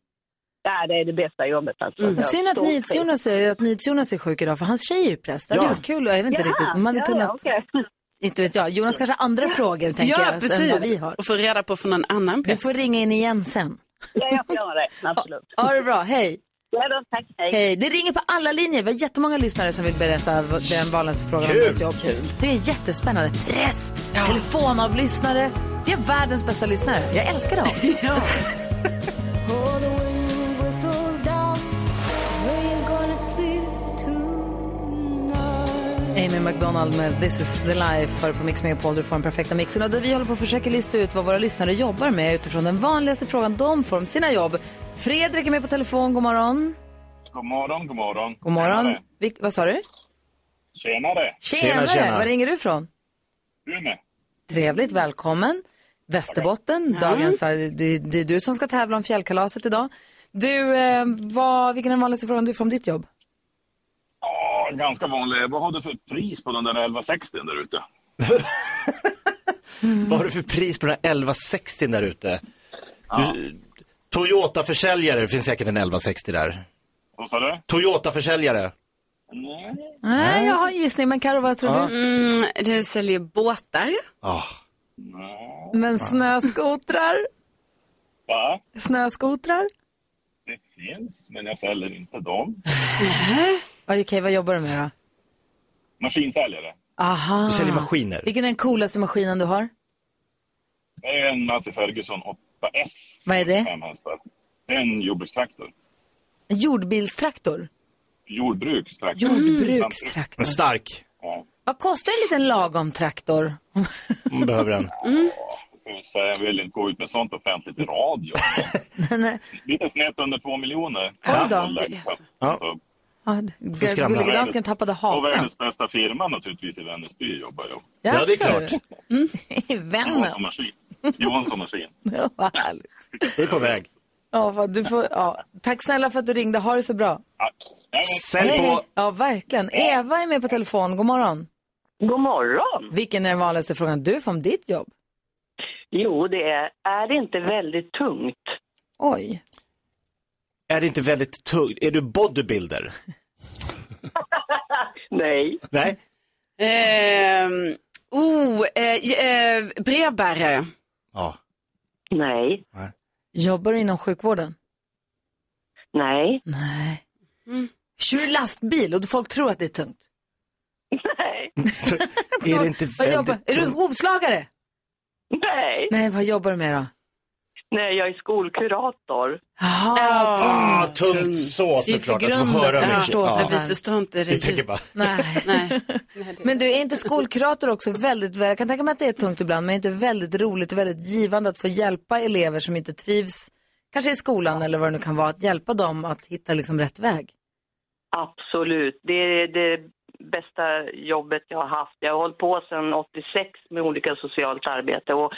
[SPEAKER 12] Ja, det är det bästa jobbet alltså.
[SPEAKER 3] Mm.
[SPEAKER 12] Jag
[SPEAKER 1] Synd att
[SPEAKER 12] står fri.
[SPEAKER 1] NyhetsJonas är, att NyhetsJonas är sjuk idag för hans tjej är ju präst. Det hade
[SPEAKER 3] Ja.
[SPEAKER 1] varit kul. Jag vet inte
[SPEAKER 12] Jaha,
[SPEAKER 1] riktigt. Man hade
[SPEAKER 12] ja,
[SPEAKER 1] kunnat,
[SPEAKER 12] ja, okej.
[SPEAKER 1] inte vet jag. Jonas kanske har andra frågor tänker
[SPEAKER 4] Ja,
[SPEAKER 1] jag. Än vad vi
[SPEAKER 4] precis.
[SPEAKER 1] har.
[SPEAKER 4] Och få reda på från en annan
[SPEAKER 1] Du
[SPEAKER 4] präst.
[SPEAKER 1] får ringa in igen sen.
[SPEAKER 12] Ja, jag får göra det. Absolut.
[SPEAKER 1] Ha det bra, hej.
[SPEAKER 12] Ja, då, tack. Hej.
[SPEAKER 1] Hej. Det ringer på alla linjer. Vi har jättemånga lyssnare som vill berätta vad- den valens frågan om
[SPEAKER 3] Kul.
[SPEAKER 1] deras jobb. Det är jättespännande. Press, telefonavlyssnare. Vi har världens bästa lyssnare. Jag älskar dem.
[SPEAKER 5] Oh, the wind whistles down. Where you gonna sleep tonight?
[SPEAKER 1] Amy McDonald med This is the life för på Mix Megapol. Du får den perfekta mixen. Och där vi håller på att försöka lista ut vad våra lyssnare jobbar med utifrån den vanligaste frågan de får om sina jobb. Fredrik är med på telefon. God morgon.
[SPEAKER 10] God morgon, god morgon.
[SPEAKER 1] God morgon. Vil- vad sa du?
[SPEAKER 10] Tjenare.
[SPEAKER 1] Tjenare.
[SPEAKER 3] tjena.
[SPEAKER 1] Var ringer du ifrån?
[SPEAKER 10] Umeå.
[SPEAKER 1] Trevligt. Välkommen. Västerbotten. Dagens, eh, det, det är du som ska tävla om fjällkalaset idag. Du, eh, vad, vilken är den vanligaste frågan du får om ditt jobb?
[SPEAKER 10] Ja, ganska vanlig. Vad har du för pris på den där 1160 där ute?
[SPEAKER 3] Vad har du för pris på den här 1160 där ute? Du- Toyota-försäljare, det finns säkert en 1160 där.
[SPEAKER 10] Vad sa du?
[SPEAKER 3] Toyota-försäljare.
[SPEAKER 1] Nej, jag har en gissning. Men Karo, vad tror du?
[SPEAKER 4] Mm, du säljer båtar.
[SPEAKER 3] Ah.
[SPEAKER 1] Men snöskotrar?
[SPEAKER 10] Va?
[SPEAKER 1] Snöskotrar?
[SPEAKER 10] Det finns, men jag säljer inte dem.
[SPEAKER 1] Äh? Okej, vad jobbar du med då?
[SPEAKER 10] Maskinsäljare.
[SPEAKER 1] Aha.
[SPEAKER 3] Du säljer maskiner.
[SPEAKER 1] Vilken är den coolaste maskinen du har?
[SPEAKER 10] Det är en Massey Ferguson 8S.
[SPEAKER 1] Vad är det?
[SPEAKER 10] Fem hästar. Det är en jordbrukstraktor.
[SPEAKER 1] En jordbilstraktor?
[SPEAKER 10] Jordbrukstraktor.
[SPEAKER 1] Mm. Jordbrukstraktor.
[SPEAKER 3] Men stark.
[SPEAKER 10] Ja,
[SPEAKER 1] Vad kostar en liten lagom traktor? Mm.
[SPEAKER 3] Om du Mm, behöver en.
[SPEAKER 10] ska vi säga. Jag vill inte gå ut med sånt offentligt i radio.
[SPEAKER 1] Nej.
[SPEAKER 10] Lite snett under två miljoner.
[SPEAKER 1] Oj då.
[SPEAKER 10] Ja.
[SPEAKER 1] Ja,
[SPEAKER 3] skramla.
[SPEAKER 1] Gullige dansken tappade
[SPEAKER 10] Och
[SPEAKER 1] hakan.
[SPEAKER 10] världens bästa firma naturligtvis i Vänersby jobbar jag.
[SPEAKER 3] Ja, det är
[SPEAKER 1] Jaså?
[SPEAKER 3] klart.
[SPEAKER 1] Mm. Vänner.
[SPEAKER 10] Johansson Maskin. Johansson Maskin.
[SPEAKER 1] Ja, Vad härligt.
[SPEAKER 3] Det är på väg.
[SPEAKER 1] Ja, vad du får, ja. Tack snälla för att du ringde. Ha det så bra.
[SPEAKER 10] Ja, jag vet.
[SPEAKER 3] Sälj på...
[SPEAKER 1] Ja, verkligen. Eva är med på telefon. God morgon.
[SPEAKER 12] God morgon!
[SPEAKER 1] Vilken är den vanligaste frågan du får om ditt jobb?
[SPEAKER 12] Jo, det är, är det inte väldigt tungt?
[SPEAKER 1] Oj.
[SPEAKER 3] Är det inte väldigt tungt? Är du bodybuilder?
[SPEAKER 12] Nej.
[SPEAKER 3] Nej.
[SPEAKER 4] Ehm, oh, eh, eh, brevbärare.
[SPEAKER 3] Ja.
[SPEAKER 12] Nej.
[SPEAKER 1] Jobbar du inom sjukvården?
[SPEAKER 12] Nej.
[SPEAKER 1] Nej. Kör du lastbil och folk tror att det är tungt?
[SPEAKER 3] Är det inte
[SPEAKER 1] Vad jobbar,
[SPEAKER 3] väldigt
[SPEAKER 1] är du
[SPEAKER 3] tungt?
[SPEAKER 1] hovslagare?
[SPEAKER 13] Nej.
[SPEAKER 1] Nej, vad jobbar du med då?
[SPEAKER 13] Nej, jag är skolkurator.
[SPEAKER 1] Jaha,
[SPEAKER 3] Ah, tungt så
[SPEAKER 1] Det är för
[SPEAKER 3] såklart att få
[SPEAKER 1] grunden
[SPEAKER 3] höra
[SPEAKER 1] för att
[SPEAKER 3] mycket.
[SPEAKER 1] förstå
[SPEAKER 3] Ja.
[SPEAKER 1] sånt här. Vi förstår inte det
[SPEAKER 3] Vi tänker
[SPEAKER 1] djupt.
[SPEAKER 3] bara,
[SPEAKER 1] Nej. men du, är inte skolkurator också väldigt, väl- jag kan tänka mig att det är tungt ibland, men är inte väldigt roligt och väldigt givande att få hjälpa elever som inte trivs, kanske i skolan eller vad det nu kan vara, att hjälpa dem att hitta liksom rätt väg?
[SPEAKER 13] Absolut. Det är det bästa jobbet jag har haft. Jag har hållit på sedan 86 med olika socialt arbete och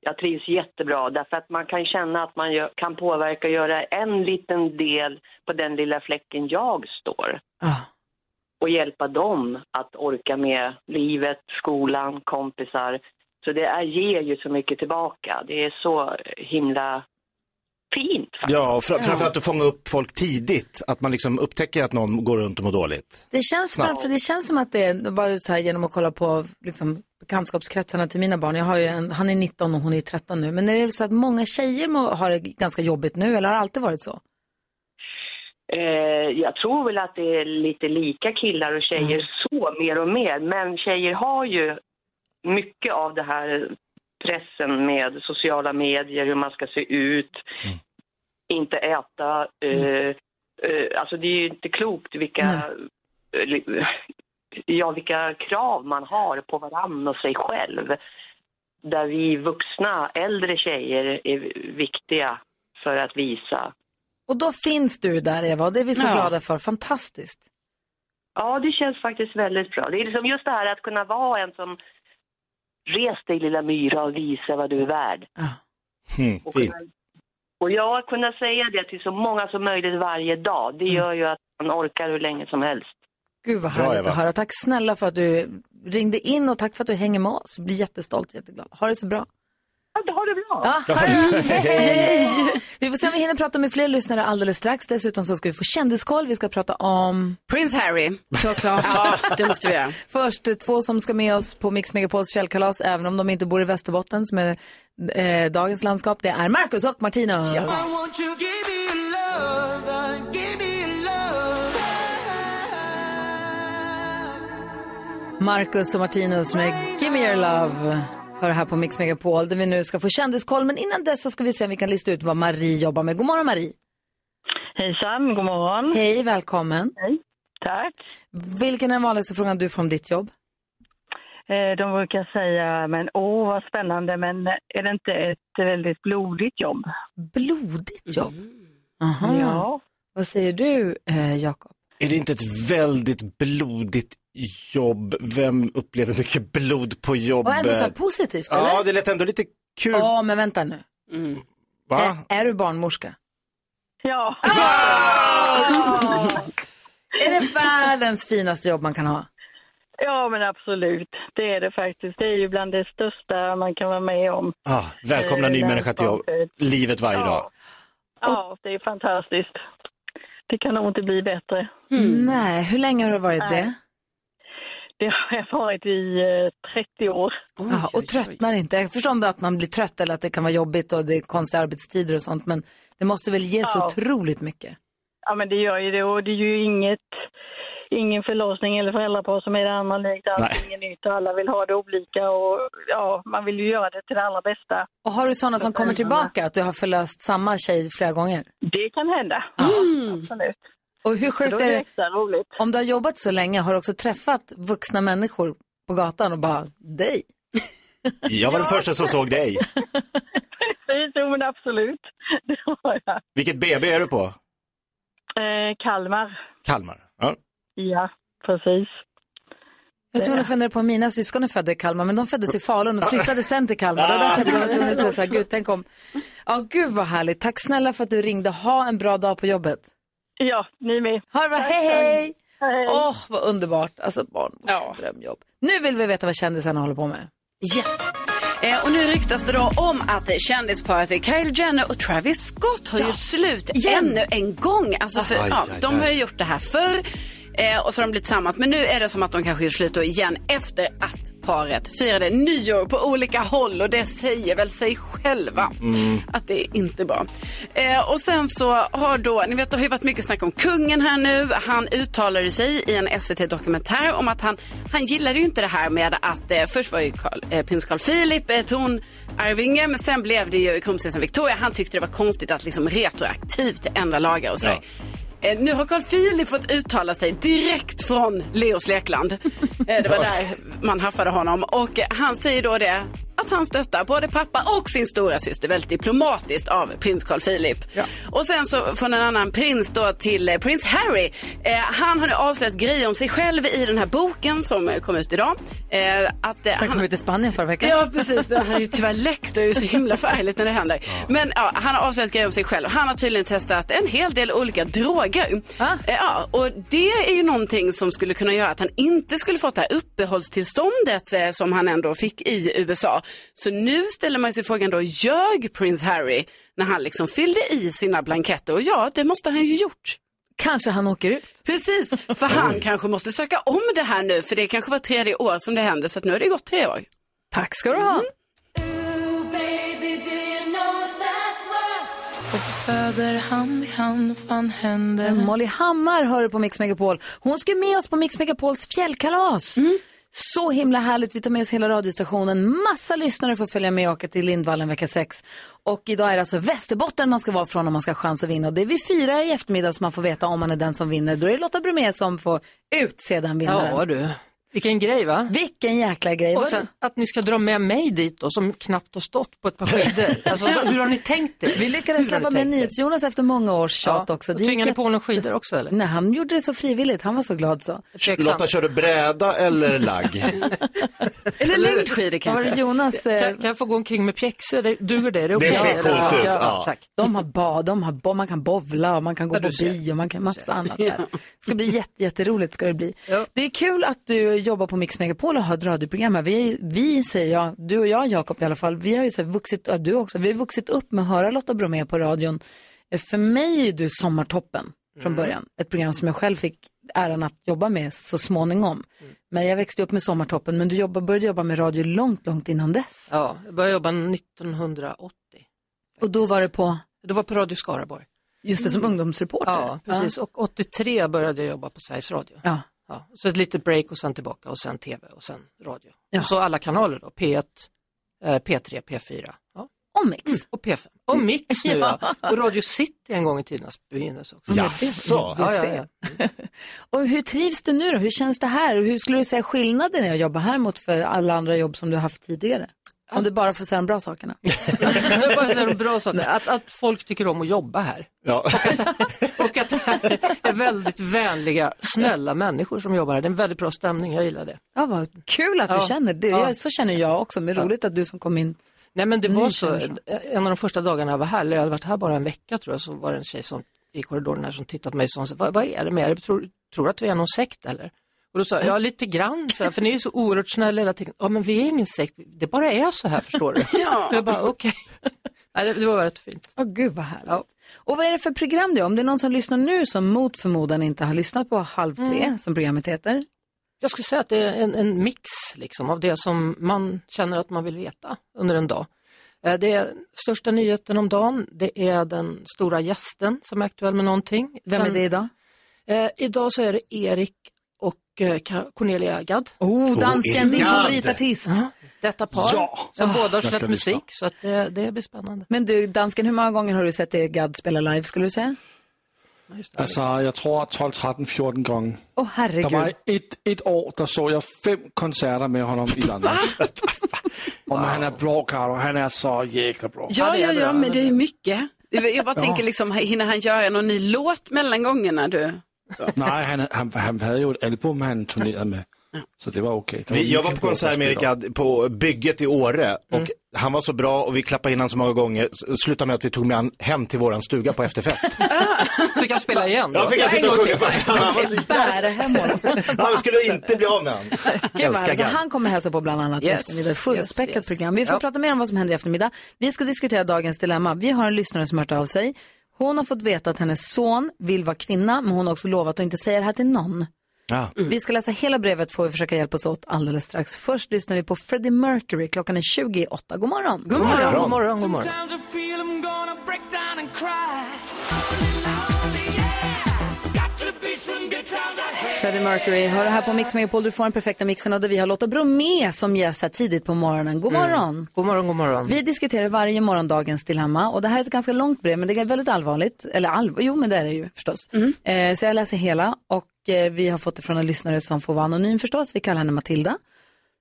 [SPEAKER 13] jag trivs jättebra därför att man kan känna att man gör, kan påverka och göra en liten del på den lilla fläcken jag står. Och hjälpa dem att orka med livet, skolan, kompisar. Så det är, ger ju så mycket tillbaka. Det är så himla fint.
[SPEAKER 3] Ja, och fra- framförallt att fånga upp folk tidigt. Att man liksom upptäcker att någon går runt och mår dåligt.
[SPEAKER 1] Det känns,
[SPEAKER 3] Snabbt.
[SPEAKER 1] framför, det känns som att det är bara så här genom att kolla på liksom, bekantskapskretsarna till mina barn. Jag har ju en, han är 19 och hon är 13 nu. Men är det så att många tjejer må- har det ganska jobbigt nu eller har det alltid varit så?
[SPEAKER 13] Eh, jag tror väl att det är lite lika killar och tjejer så mer och mer. Men tjejer har ju mycket av det här pressen med sociala medier, hur man ska se ut, inte äta. Eh, eh, alltså det är ju inte klokt vilka, eh, li- ja, vilka krav man har på varann och sig själv. Där vi vuxna, äldre tjejer är viktiga för att visa
[SPEAKER 1] Och då finns du där Eva och det är vi så
[SPEAKER 13] Ja.
[SPEAKER 1] glada för. Fantastiskt.
[SPEAKER 13] Ja, det känns faktiskt väldigt bra. Det är liksom just det här att kunna vara en som res dig lilla myra och visa vad du är värd.
[SPEAKER 3] Hmm, fint.
[SPEAKER 13] Och jag kunna säga det till så många som möjligt varje dag, det gör ju att man orkar hur länge som helst.
[SPEAKER 1] Gud vad
[SPEAKER 13] Bra,
[SPEAKER 1] härligt
[SPEAKER 13] Eva.
[SPEAKER 1] att höra. Tack snälla för att du ringde in och tack för att du hänger med oss. Blir jättestolt, jätteglad. Ha det så bra.
[SPEAKER 13] Ha det bra.
[SPEAKER 1] Ja, ha det bra. Hej. Vi får se om vi hinner prata med fler lyssnare alldeles strax. Dessutom så ska vi få kändiskoll. Vi ska prata om...
[SPEAKER 4] Prince Harry.
[SPEAKER 1] Såklart.
[SPEAKER 4] Ja, det måste vi göra.
[SPEAKER 1] Först eh, två som ska med oss på Mix Megapols fjällkalas, även om de inte bor i Västerbotten som är eh, dagens landskap. Det är Marcus och Martina. Marcus och Martinus med Give Me Your Love. Hör här på Mix Megapol där vi nu ska få kändiskoll. Men innan dess så ska vi se om vi kan lista ut vad Marie jobbar med. God morgon Marie.
[SPEAKER 14] Hejsan, god morgon.
[SPEAKER 1] Hej, välkommen.
[SPEAKER 14] Hej, tack.
[SPEAKER 1] Vilken är den vanligaste frågan du får om ditt jobb?
[SPEAKER 14] Eh, De brukar säga, men åh vad spännande, men är det inte ett väldigt blodigt jobb?
[SPEAKER 1] Blodigt jobb? Aha.
[SPEAKER 14] Mm. Ja.
[SPEAKER 1] Vad säger du, eh, Jakob?
[SPEAKER 3] Är det inte ett väldigt blodigt jobb? Vem upplever mycket blod på
[SPEAKER 1] Och ändå så här
[SPEAKER 3] jobbet?
[SPEAKER 1] positivt,
[SPEAKER 3] Ja,
[SPEAKER 1] eller?
[SPEAKER 3] det lät ändå lite kul.
[SPEAKER 1] Ja, men vänta nu.
[SPEAKER 3] Va?
[SPEAKER 1] Är du barnmorska?
[SPEAKER 14] Mm. Ja.
[SPEAKER 1] Är det världens finaste jobb man kan ha?
[SPEAKER 14] Ja, men absolut. Det är det faktiskt. Det är ju bland det största man kan vara med om.
[SPEAKER 3] Ah, välkomna
[SPEAKER 14] Eh,
[SPEAKER 3] ny
[SPEAKER 14] när
[SPEAKER 3] människa till jobb.
[SPEAKER 14] barn föds.
[SPEAKER 3] livet varje dag.
[SPEAKER 14] Ja, det är fantastiskt. Det kan nog inte bli bättre.
[SPEAKER 1] Mm. Nej, hur länge har du varit det?
[SPEAKER 14] Det har jag varit i eh, 30 år.
[SPEAKER 1] Ja, och tröttnar inte. Jag förstår om det att man blir trött eller att det kan vara jobbigt och det är konstiga arbetstider och sånt, men det måste väl ge så
[SPEAKER 14] Ja.
[SPEAKER 1] otroligt mycket?
[SPEAKER 14] Ja, men det gör ju det. Och det är ju inget, ingen förlossning eller föräldrapar som är det andra likt. Allting är nytt och alla vill ha det olika. Och, ja, man vill ju göra det till det allra bästa.
[SPEAKER 1] Och har du sådana som kommer tillbaka, att du har förlöst samma tjej flera gånger?
[SPEAKER 14] Det kan hända. Absolut.
[SPEAKER 1] Och hur sjukt
[SPEAKER 14] Då
[SPEAKER 1] är
[SPEAKER 14] är
[SPEAKER 1] det?
[SPEAKER 14] det extra roligt.
[SPEAKER 1] Om du har jobbat så länge, har du också träffat vuxna människor på gatan och bara, dig?
[SPEAKER 3] Jag var den första som såg dig.
[SPEAKER 14] Precis, jo men absolut. Det har jag.
[SPEAKER 3] Vilket BB är du på?
[SPEAKER 14] Eh, Kalmar.
[SPEAKER 3] Kalmar. Ja.
[SPEAKER 14] Ja, precis. Eh.
[SPEAKER 1] Jag tror hon funderade på mina syskon är födda i Kalmar, men de föddes i Falun och flyttade sen till Kalmar. Det var därför jag var tvungen att bli så här, gud, tänk om. Ja, gud vad härligt. Tack snälla för att du ringde. Ha en bra dag på jobbet.
[SPEAKER 14] Ja, ni med.
[SPEAKER 1] Ha det bra,
[SPEAKER 14] Tack,
[SPEAKER 1] hej
[SPEAKER 14] tack.
[SPEAKER 1] hej!
[SPEAKER 14] Hej.
[SPEAKER 1] Åh, vad underbart. Alltså barnmorska, drömjobb. Nu vill vi veta vad kändisarna håller på med.
[SPEAKER 4] Yes. Eh, och nu ryktas det då om att eh, kändisparet Kylie Jenner och Travis Scott har gjort slut ännu en gång. Alltså för,
[SPEAKER 2] Aj,
[SPEAKER 4] ja,
[SPEAKER 2] Ah. aj,
[SPEAKER 4] de
[SPEAKER 2] aj.
[SPEAKER 4] har ju gjort det här förr eh, och så har de blivit tillsammans. Men nu är det som att de kanske gör slut då igen efter att paret firade nyår på olika håll och det säger väl sig själva
[SPEAKER 5] Mm.
[SPEAKER 4] att det är inte bra. Eh, och sen så har då, ni vet det har ju varit mycket snack om kungen här nu. Han uttalade sig i en SVT-dokumentär om att han, han gillade ju inte det här med att eh, först var ju Carl, eh, prins Carl Philip eh, tronarvinge men sen blev det ju kronprinsessan Victoria. Han tyckte det var konstigt att liksom retroaktivt ändra lagar och sådär. Eh, Nu har Carl Philip fått uttala sig direkt från Leos lekland. Eh, Det var där man haffade honom. Och eh, han säger då det att han stöttar både pappa och sin stora syster väldigt diplomatiskt av prins Carl Philip. Och sen så från en annan prins då till eh, prins Harry. Eh, han har nu avslöjat grejer om sig själv i den här boken som eh, kom ut idag. Eh, att, eh,
[SPEAKER 1] Den kom ut i Spanien förra veckan.
[SPEAKER 4] Ja, precis. Han är ju tyvärr läckt och är ju så himla förargligt när det händer. Men ja, han har avslöjat grejer om sig själv. Han har tydligen testat en hel del olika droger.
[SPEAKER 1] Ah.
[SPEAKER 4] Eh, Ja, och det är ju någonting som skulle kunna göra att han inte skulle fått det här uppehållstillståndet eh, som han ändå fick i USA. Så nu ställer man sig frågan då, ljög prins Harry när han liksom fyllde i sina blanketter? Och ja, det måste han ju gjort.
[SPEAKER 1] Kanske han åker ut.
[SPEAKER 4] Precis, för han kanske måste söka om det här nu, för det kanske var tredje år som det hände, så att nu har det gått tre år.
[SPEAKER 1] Tack ska du
[SPEAKER 4] Mm.
[SPEAKER 1] ha.
[SPEAKER 9] På Söder hand i hand, fan händer
[SPEAKER 1] Molly Hammar hör du på Mix Megapol. Hon ska med oss på Mix Megapols fjällkalas.
[SPEAKER 9] Mm.
[SPEAKER 1] Så himla härligt. Vi tar med oss hela radiostationen. Massa lyssnare får följa med och åka till Lindvallen vecka 6. Och idag är det alltså Västerbotten man ska vara från om man ska ha chans att vinna. Och det är vid fyra i eftermiddag som man får veta om man är den som vinner. Då är det Lotta Bromé som får utse den vinnaren.
[SPEAKER 15] Ja du. Vilken grej va?
[SPEAKER 1] Vilken jäkla grej.
[SPEAKER 15] Och
[SPEAKER 1] Var
[SPEAKER 15] sen att ni ska dra med mig dit då som knappt har stått på ett par skidor. Alltså, hur har ni tänkt det?
[SPEAKER 1] Vi
[SPEAKER 15] Hur har
[SPEAKER 1] lyckades
[SPEAKER 15] ni
[SPEAKER 1] släppa med
[SPEAKER 15] tänkt det?
[SPEAKER 1] NyhetsJonas efter många års tjat
[SPEAKER 15] Mm. Ja,
[SPEAKER 1] också.
[SPEAKER 15] och
[SPEAKER 1] Det gick
[SPEAKER 15] tvingar ni
[SPEAKER 1] jätte-
[SPEAKER 15] på honom skidor också eller?
[SPEAKER 1] Nej, han gjorde det så frivilligt. Han var så glad så.
[SPEAKER 3] Lotta, kör du bräda eller lagg?
[SPEAKER 1] Eller längdskidor
[SPEAKER 15] kanske.
[SPEAKER 1] Var det Jonas? eh,
[SPEAKER 15] Kan, kan jag få gå omkring med pjäxor? Det- Duger det? Är okej?
[SPEAKER 3] Det ser coolt
[SPEAKER 15] Ja,
[SPEAKER 3] ut,
[SPEAKER 15] ja,
[SPEAKER 3] ja.
[SPEAKER 15] Tack.
[SPEAKER 1] De har bad, de har bo, man kan bovla och man kan gå
[SPEAKER 15] Ja,
[SPEAKER 1] på
[SPEAKER 15] du ser.
[SPEAKER 1] bio, man kan massa annat. Där. Det ska bli jätte, jätteroligt ska det bli. Det är kul att du jobbar på Mix Megapol och har ett radioprogram här. Vi, vi säger jag, du och jag Jakob i alla fall, vi har ju så här vuxit, ja, du också, vi har vuxit upp med att höra Lotta Bromé på radion. Eh, För mig är ju du Sommartoppen från
[SPEAKER 11] Mm.
[SPEAKER 1] början, ett program som jag själv fick äran att jobba med så småningom.
[SPEAKER 15] Mm.
[SPEAKER 1] Men jag växte upp med Sommartoppen, men du jobba, började jobba med radio långt, långt innan dess.
[SPEAKER 15] Ja, jag började jobba 1980.
[SPEAKER 1] Och då var det på?
[SPEAKER 15] Det var på Radio Skaraborg. Mm.
[SPEAKER 1] Just det, som ungdomsreporter.
[SPEAKER 15] Ja, precis. Och 83 började jag jobba på Sveriges Radio.
[SPEAKER 1] Ja.
[SPEAKER 15] Ja, så ett litet break och sen tillbaka och sen tv och sen radio.
[SPEAKER 1] Ja.
[SPEAKER 15] Och så alla kanaler då, P1, eh, P3, P4. Ja. Mm,
[SPEAKER 1] Och Mix.
[SPEAKER 15] och P5. Och Mix nu ja.
[SPEAKER 1] Ja.
[SPEAKER 15] Och Radio City en gång i tidernas begynnelse också.
[SPEAKER 1] Jaså?
[SPEAKER 15] Ja, ja,
[SPEAKER 1] Du
[SPEAKER 15] ja.
[SPEAKER 1] ser. Och hur trivs du nu då? Hur känns det här? Och Hur skulle du säga skillnaden är att jobba här mot för alla andra jobb som du har haft tidigare? Om du bara får säga de bra sakerna.
[SPEAKER 15] Det var så bra saker. Att, att folk tycker om att jobba här. Och att det här är väldigt vänliga, snälla människor som jobbar här. Det är en väldigt bra stämning, jag gillar det.
[SPEAKER 1] Ja, vad kul att du
[SPEAKER 15] Ja.
[SPEAKER 1] känner det.
[SPEAKER 15] Ja.
[SPEAKER 1] Jag, så känner jag också, men roligt att du som kom in.
[SPEAKER 15] Nej men det var
[SPEAKER 1] Ni
[SPEAKER 15] så,
[SPEAKER 1] känner så.
[SPEAKER 15] en av de första dagarna jag var här, eller jag hade varit här bara en vecka tror jag, så var det en tjej som, i korridoren här som tittade på mig och sa, vad, vad är det med er? Tror, tror du att vi är någon sekt eller? Och då sa jag, ja lite grann, så här, för ni är ju så oerhört snälla hela tiden. Ja men vi är ingen sekt, det bara är så här förstår du.
[SPEAKER 1] Ja.
[SPEAKER 15] Och Jag bara okej. Nej, det- Det var rätt fint.
[SPEAKER 1] Åh gud vad härligt. Och vad är det för program du gör? Om det är någon som lyssnar nu som mot förmodan inte har lyssnat på Halv tre,
[SPEAKER 15] Mm.
[SPEAKER 1] som programmet heter.
[SPEAKER 15] Jag skulle säga att det är en, en mix liksom, av det som man känner att man vill veta under en dag. Eh, Det är största nyheten om dagen, det är den stora gästen som är aktuell med någonting.
[SPEAKER 1] Vem är det idag?
[SPEAKER 15] Eh, idag så är det Erik och eh, Ka- Cornelia Gadd.
[SPEAKER 1] Oh, dansken, din favoritartist.
[SPEAKER 15] Detta par,
[SPEAKER 1] Ja.
[SPEAKER 15] som
[SPEAKER 1] Ah,
[SPEAKER 15] båda har
[SPEAKER 1] jag ska
[SPEAKER 15] släppt
[SPEAKER 1] lyssna.
[SPEAKER 15] musik, så att det, det blir spännande.
[SPEAKER 1] Men du, dansken, hur många gånger har du sett Erik Gadd spela live, skulle du säga?
[SPEAKER 6] Altså, jeg tror 12, 13, 14 gange.
[SPEAKER 1] Åh herregud.
[SPEAKER 6] Der var et, et år, der så jeg fem koncerter med honom i London. Og han er bra, Karo. Han er så jækla bra.
[SPEAKER 4] Ja, ja, ja, men det är mycket. Det- Jag bara
[SPEAKER 6] Ja.
[SPEAKER 4] tänker liksom, hinner han göra någon ny låt mellan gångerna du?
[SPEAKER 6] Nej, han, han, han havde jo et album, han turnerede med. Så det var okay. Der
[SPEAKER 3] Vi, jag var på
[SPEAKER 6] weekend, hvor
[SPEAKER 3] konsert med
[SPEAKER 6] spillede
[SPEAKER 3] Erik
[SPEAKER 6] op.
[SPEAKER 3] Gadd på bygget i Åre och han var så bra och vi klappade in honom så många gånger. S- Slutade med att vi tog med honom hem till våran stuga på efterfest.
[SPEAKER 15] Fick han spela igen? då?
[SPEAKER 3] Ja, fick han
[SPEAKER 15] En
[SPEAKER 3] sitta och
[SPEAKER 15] gång
[SPEAKER 3] sjunga
[SPEAKER 15] till.
[SPEAKER 3] för- Han var så-
[SPEAKER 1] Bära hem honom.
[SPEAKER 3] Han skulle inte bli av med honom.
[SPEAKER 1] Gud, vad
[SPEAKER 3] Älskar
[SPEAKER 1] härligt. så
[SPEAKER 3] Gadd.
[SPEAKER 1] alltså, han kommer hälsa på bland annat i
[SPEAKER 3] Yes,
[SPEAKER 1] eftermiddag. Fullspäckat
[SPEAKER 3] yes, yes.
[SPEAKER 1] program. Vi får
[SPEAKER 3] Ja.
[SPEAKER 1] prata mer om vad som händer i eftermiddag. Vi ska diskutera dagens dilemma. Vi har en lyssnare som hört av sig. Hon har fått veta att hennes son vill vara kvinna, men hon har också lovat att inte säga det här till någon.
[SPEAKER 3] Ja.
[SPEAKER 15] Mm.
[SPEAKER 1] Vi ska läsa hela brevet får vi försöka hjälpas åt alldeles strax. Först lyssnar vi på Freddie Mercury. Klockan är 28. God morgon.
[SPEAKER 15] God morgon. God morgon, god morgon.
[SPEAKER 5] Sometimes I feel I'm gonna break down and cry. Got to be some good times I had.
[SPEAKER 1] Freddie Mercury hör det här på Mix Megapol. Du får den perfekta mixen och där vi har Lotta Bromé som gäst här tidigt på morgonen.
[SPEAKER 15] Mm.
[SPEAKER 1] God morgon.
[SPEAKER 15] God morgon, god morgon.
[SPEAKER 1] Vi diskuterar varje morgon dagens dilemma och det här är ett ganska långt brev men det är väldigt allvarligt. Eller all... jo men det är det ju förstås. Eh, så jag läser hela och eh, vi har fått det från en lyssnare som får vara anonym förstås. Vi kallar henne Matilda.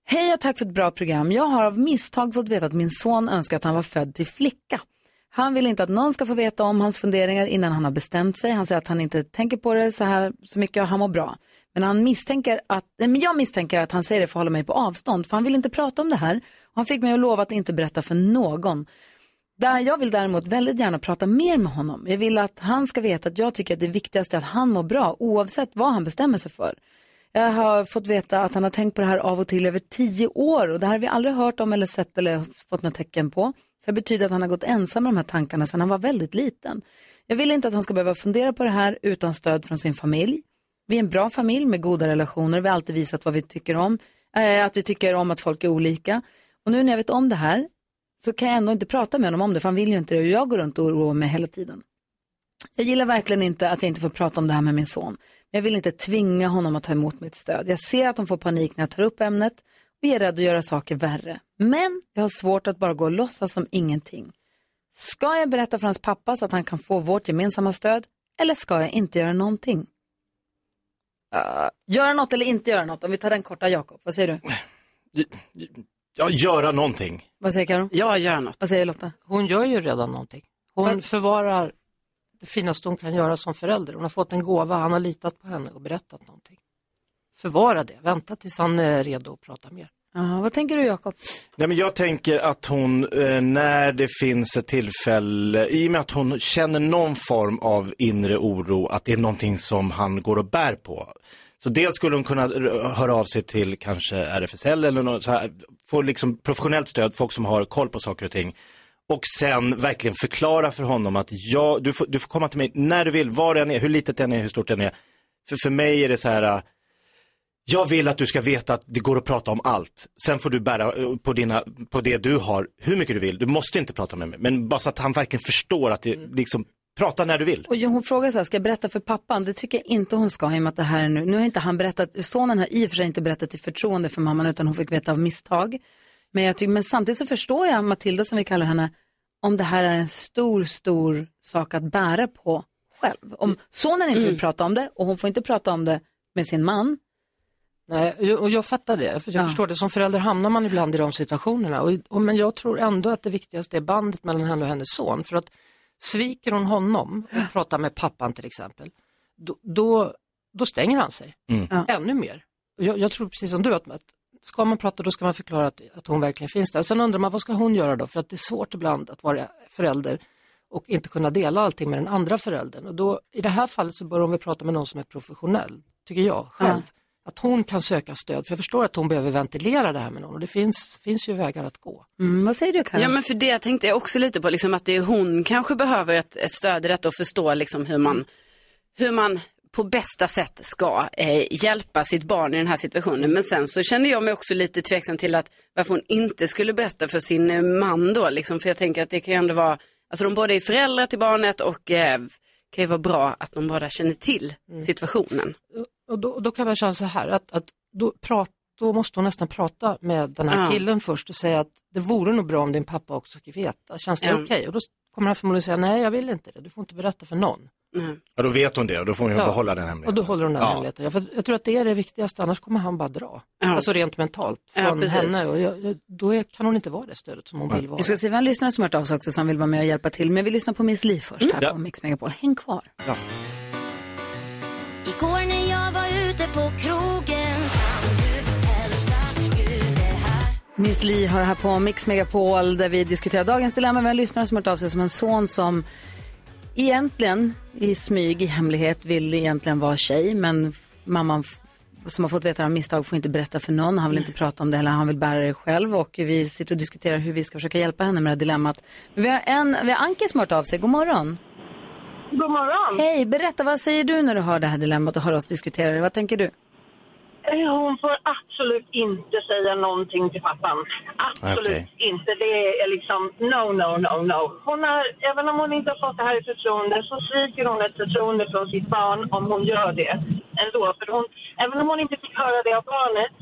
[SPEAKER 1] Hej och tack för ett bra program. Jag har av misstag fått veta att min son önskar att han var född till flicka. Han vill inte att någon ska få veta om hans funderingar innan han har bestämt sig. Han säger att han inte tänker på det så här så mycket och han mår bra. Men, han misstänker att, nej, men jag misstänker att han säger det för att hålla mig på avstånd för han vill inte prata om det här. Och han fick mig att lova att inte berätta för någon. Där jag vill däremot väldigt gärna prata mer med honom. Jag vill att han ska veta att jag tycker att det viktigaste är att han mår bra oavsett vad han bestämmer sig för. Jag har fått veta att han har tänkt på det här av och till över tio år och det här har vi aldrig hört om eller sett eller fått några tecken på. Så det betyder att han har gått ensam med de här tankarna sedan han var väldigt liten. Jag vill inte att han ska behöva fundera på det här utan stöd från sin familj. Vi är en bra familj med goda relationer. Vi har alltid visat vad vi tycker om, eh, att vi tycker om att folk är olika. Och nu när jag vet om det här så kan jag ändå inte prata med honom om det, för han vill ju inte det. Och jag går runt och oroar mig hela tiden. Jag gillar verkligen inte att jag inte får prata om det här med min son. Men jag vill inte tvinga honom att ta emot mitt stöd. Jag ser att de får panik när jag tar upp ämnet och jag är rädd att göra saker värre. Men jag har svårt att bara gå och låtsas som ingenting. Ska jag berätta för hans pappa så att han kan få vårt gemensamma stöd eller ska jag inte göra någonting? Uh, göra något eller inte göra något? Om vi tar den korta, Jakob, vad säger du?
[SPEAKER 3] Ja, göra någonting.
[SPEAKER 1] Vad säger Karo?
[SPEAKER 4] Jag gör något.
[SPEAKER 1] Vad säger Lotta?
[SPEAKER 15] Hon gör ju redan någonting. Hon förvarar det finaste hon kan göra som förälder. Hon har fått en gåva, han har litat på henne och berättat någonting. Förvara det, vänta tills han är redo att prata mer.
[SPEAKER 1] Ja, vad tänker du Jakob?
[SPEAKER 3] Nej, men jag tänker att hon, eh, när det finns ett tillfälle, i och med att hon känner någon form av inre oro, att det är någonting som han går och bär på. Så dels skulle hon kunna r- höra av sig till kanske RFSL eller något så här, få liksom professionellt stöd, folk som har koll på saker och ting. Och sen verkligen förklara för honom att jag, du, får, du får komma till mig när du vill, var den är, hur litet den är, hur stort den är. För, för mig är det så här, eh, jag vill att du ska veta att det går att prata om allt. Sen får du bära eh, på, dina, på det du har hur mycket du vill. Du måste inte prata med mig. Men bara så att han verkligen förstår att det,
[SPEAKER 15] Mm.
[SPEAKER 3] liksom, prata när du vill.
[SPEAKER 1] Och hon frågar så här, ska jag berätta för pappan? Det tycker jag inte hon ska i och med att det här är nu. Nu har inte han berättat, sonen har i och för sig inte berättat i förtroende för mamman utan hon fick veta av misstag. Men, jag tycker, men samtidigt så förstår jag Matilda som vi kallar henne, om det här är en stor, stor sak att bära på själv. Om sonen inte vill
[SPEAKER 15] Mm.
[SPEAKER 1] prata om det och hon får inte prata om det med sin man,
[SPEAKER 15] Nej, jag- och jag fattar det. För jag
[SPEAKER 1] Ja.
[SPEAKER 15] förstår det. Som förälder hamnar man ibland i de situationerna. Och, och, men jag tror ändå att det viktigaste är bandet mellan henne och hennes son. För att sviker hon honom och pratar med pappan till exempel, då, då, då stänger han sig
[SPEAKER 5] Mm. Ja.
[SPEAKER 15] ännu mer. Och Jag, jag tror precis som du att, att ska man prata då ska man förklara att, att hon verkligen finns där. Och sen undrar man vad ska hon göra då? För att det är svårt ibland att vara förälder och inte kunna dela allting med den andra föräldern. Och då, I det här fallet så bör hon väl prata med någon som är professionell, tycker jag själv. Att hon kan söka stöd, för jag förstår att hon behöver ventilera det här med någon och det finns, finns ju vägar att gå.
[SPEAKER 1] Mm, vad säger du Karin?
[SPEAKER 4] Ja men för det tänkte jag också lite på, liksom, att det är hon kanske behöver ett, ett stöd i detta och förstå liksom, hur, man, hur man på bästa sätt ska eh, hjälpa sitt barn i den här situationen. Men sen så kände jag mig också lite tveksam till att varför hon inte skulle berätta för sin eh, man då. Liksom, för jag tänker att det kan ju ändå vara, alltså de båda är föräldrar till barnet och eh, kan ju vara bra att de båda känner till situationen.
[SPEAKER 15] Och då, och då kan jag känna så här, att, att då, prat, då måste hon nästan prata med den här
[SPEAKER 4] Ja.
[SPEAKER 15] killen först och säga att det vore nog bra om din pappa också fick veta, känns det
[SPEAKER 4] Ja.
[SPEAKER 15] okej? Och då kommer han förmodligen säga, nej jag vill inte det, du får inte berätta för någon.
[SPEAKER 3] Ja, då vet hon det och då får hon ju
[SPEAKER 15] Ja.
[SPEAKER 3] behålla den
[SPEAKER 15] Och
[SPEAKER 3] hemligheten.
[SPEAKER 15] då håller hon den
[SPEAKER 3] Ja.
[SPEAKER 15] hemligheten. Ja, för jag tror att det är det viktigaste, annars kommer han bara dra.
[SPEAKER 1] Ja.
[SPEAKER 15] Alltså rent mentalt
[SPEAKER 1] Ja,
[SPEAKER 15] från
[SPEAKER 1] precis.
[SPEAKER 15] henne. Och jag, jag, då är, kan hon inte vara det stödet som hon vill vara.
[SPEAKER 1] Jag ska se, vi har en lyssnare som har hört av sig också som vill vara med och hjälpa till. Men vi lyssnar på Miss Li först här
[SPEAKER 15] Mm. Ja.
[SPEAKER 1] på Mix Megapol. Häng kvar.
[SPEAKER 5] Igår när jag var ute på krogen sa du hälsa Gud är här
[SPEAKER 1] Miss Li har här på Mix Megapol där vi diskuterar dagens dilemma. Vi har en lyssnare som har hört av sig som en son som egentligen i smyg, i hemlighet, vill egentligen vara tjej. Men f- mamman f- som har fått veta av misstag får inte berätta för någon. Han vill inte prata om det heller. Han vill bära det själv. Och vi sitter och diskuterar hur vi ska försöka hjälpa henne med det här dilemmat. Men vi har, en, vi har Anki som har hört av sig. God morgon.
[SPEAKER 16] God morgon.
[SPEAKER 1] Hej, berätta vad säger du när du hör det här dilemmat och hör oss diskutera det? Vad tänker du?
[SPEAKER 16] Eh, Hon får absolut inte säga någonting till pappan. Absolut
[SPEAKER 17] Okej.
[SPEAKER 16] inte. Det är liksom no, no, no, no. Hon har, även om hon inte har fått det här i förtroende så sviker hon ett förtroende från sitt barn om hon gör det ändå. För hon, även om hon inte fick höra det av barnet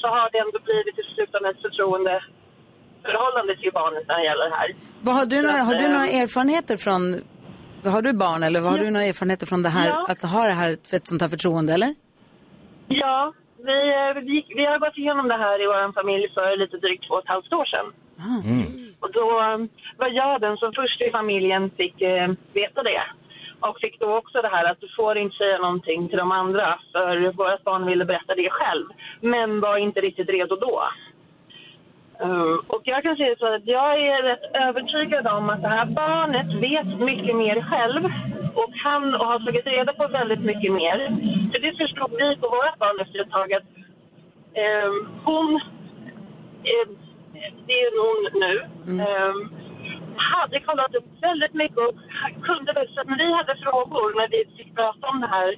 [SPEAKER 16] så har det ändå blivit till slut ett förtroende förhållande till barnet när det gäller det här.
[SPEAKER 1] Vad har, du
[SPEAKER 16] Så
[SPEAKER 1] några,
[SPEAKER 16] att,
[SPEAKER 1] har du
[SPEAKER 16] eh,
[SPEAKER 1] några erfarenheter från, har du barn eller vad har du några erfarenheter från det här,
[SPEAKER 16] Ja.
[SPEAKER 1] att ha det här, ett sånt här förtroende eller?
[SPEAKER 16] Ja, vi, eh, vi, vi har gått igenom det här i vår familj för lite drygt två och ett halvt år sedan.
[SPEAKER 5] Mm.
[SPEAKER 16] Och då eh, var jag den som först i familjen fick eh, veta det. Och fick då också det här att du får inte säga någonting till de andra för vårt barn ville berätta det själv. Men var inte riktigt redo då. Eh, och jag kan säga så att jag är rätt övertygad om att det här barnet vet mycket mer själv. Och han och har tagit reda på väldigt mycket mer. För det förstod vi på vårt barn efter ett tag att eh, hon eh, det är hon nu,
[SPEAKER 3] Mm.
[SPEAKER 16] eh, hade kollat upp väldigt mycket och kunde väl, så att när vi hade frågor, när vi fick prata om det här,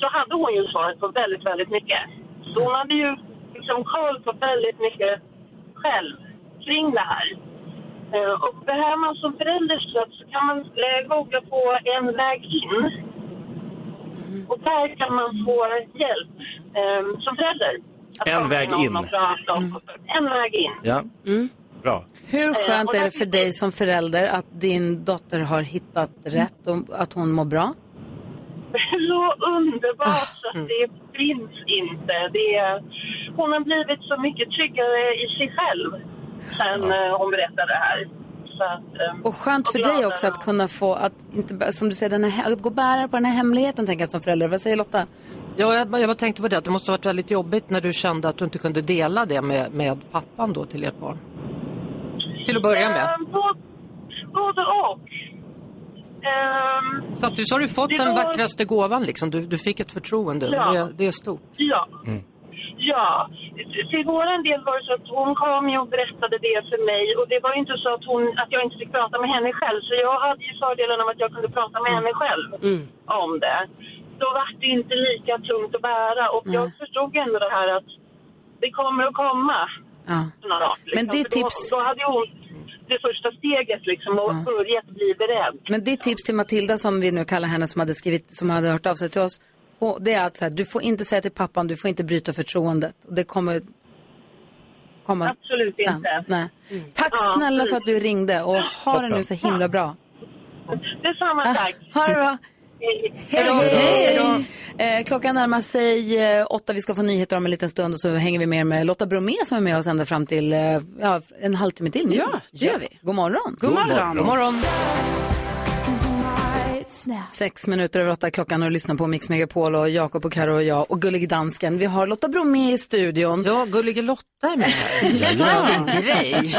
[SPEAKER 16] så hade hon ju svaret på väldigt, väldigt mycket. Så hon hade ju liksom koll på väldigt mycket själv kring det här. Eh, och behöver man som förälder stöd så kan man eh, googla på en väg in.
[SPEAKER 3] Mm.
[SPEAKER 16] Och där kan man få hjälp eh, som förälder. Att
[SPEAKER 3] En
[SPEAKER 16] prata
[SPEAKER 3] väg
[SPEAKER 16] med någon
[SPEAKER 3] in. Mm.
[SPEAKER 16] och prata om- En väg in.
[SPEAKER 3] Ja.
[SPEAKER 15] Mm.
[SPEAKER 3] Bra.
[SPEAKER 1] Hur skönt
[SPEAKER 16] Eh, och
[SPEAKER 1] är det
[SPEAKER 16] därför-
[SPEAKER 1] för dig som förälder att din dotter har hittat rätt och att hon mår bra?
[SPEAKER 16] så underbart så att det finns inte. Det är, hon har blivit så mycket tryggare i sig själv sen eh, hon berättade det här. Så att, eh,
[SPEAKER 1] Och skönt för
[SPEAKER 16] glad
[SPEAKER 1] dig också att kunna få, att inte, bä- som du säger, den här, att gå och bära på den här hemligheten tänker jag som förälder. Vad säger Lotta?
[SPEAKER 15] Ja, jag, bara- jag bara tänkte på det, att det måste ha varit väldigt jobbigt när du kände att du inte kunde dela det med, med pappan då till ert barn. Till att börja med.
[SPEAKER 16] Eh, både- Både och. Ehm,
[SPEAKER 15] Samtidigt så har du fått
[SPEAKER 16] det
[SPEAKER 15] den
[SPEAKER 16] var-
[SPEAKER 15] vackraste gåvan liksom. Du, du fick ett förtroende
[SPEAKER 16] Ja.
[SPEAKER 15] och det, det är stort.
[SPEAKER 16] Ja. Ja, till våran del var det så att hon kom ju och berättade det för mig och det var ju inte så att, hon, att jag inte fick prata med henne själv så jag hade ju fördelen av att jag kunde prata
[SPEAKER 15] Mm.
[SPEAKER 16] med henne själv
[SPEAKER 5] Mm.
[SPEAKER 16] om det. Då var det inte lika tungt att bära och jag förstod ändå det här att det kommer att komma
[SPEAKER 1] Ja.
[SPEAKER 16] snart.
[SPEAKER 1] Men det är
[SPEAKER 16] För då-
[SPEAKER 1] tips-
[SPEAKER 16] Då, hade hon det första steget liksom och börjat bli beredd.
[SPEAKER 1] Men ditt tips till Matilda som vi nu kallar henne som hade skrivit, som hade hört av sig till oss, och det är att så här, du får inte säga till pappan, du får inte bryta förtroendet. Och det kommer komma
[SPEAKER 16] Absolut
[SPEAKER 1] sen.
[SPEAKER 16] inte.
[SPEAKER 1] Nej. Tack
[SPEAKER 16] Ja,
[SPEAKER 1] snälla
[SPEAKER 16] precis.
[SPEAKER 1] för att du ringde och ha det nu så himla bra.
[SPEAKER 16] Detsamma, tack.
[SPEAKER 1] Ha det bra. Ah, Hej då.
[SPEAKER 16] Hej då.
[SPEAKER 1] Eh, klockan närmar sig eh, åtta. Vi ska få nyheter om en liten stund och så hänger vi med med Lotta Bromé som är med oss ända fram till eh, ja, en halvtimme till minst.
[SPEAKER 4] Ja, det gör vi.
[SPEAKER 1] God morgon.
[SPEAKER 4] God morgon. God morgon. God morgon.
[SPEAKER 1] Sex minuter över åtta klockan och lyssnar på Mix Megapol och Jakob och Karo och jag och Gullig Dansken. Vi har Lotta Bromé i studion. Ja, Gullig Lotta är med
[SPEAKER 15] Vilken grej.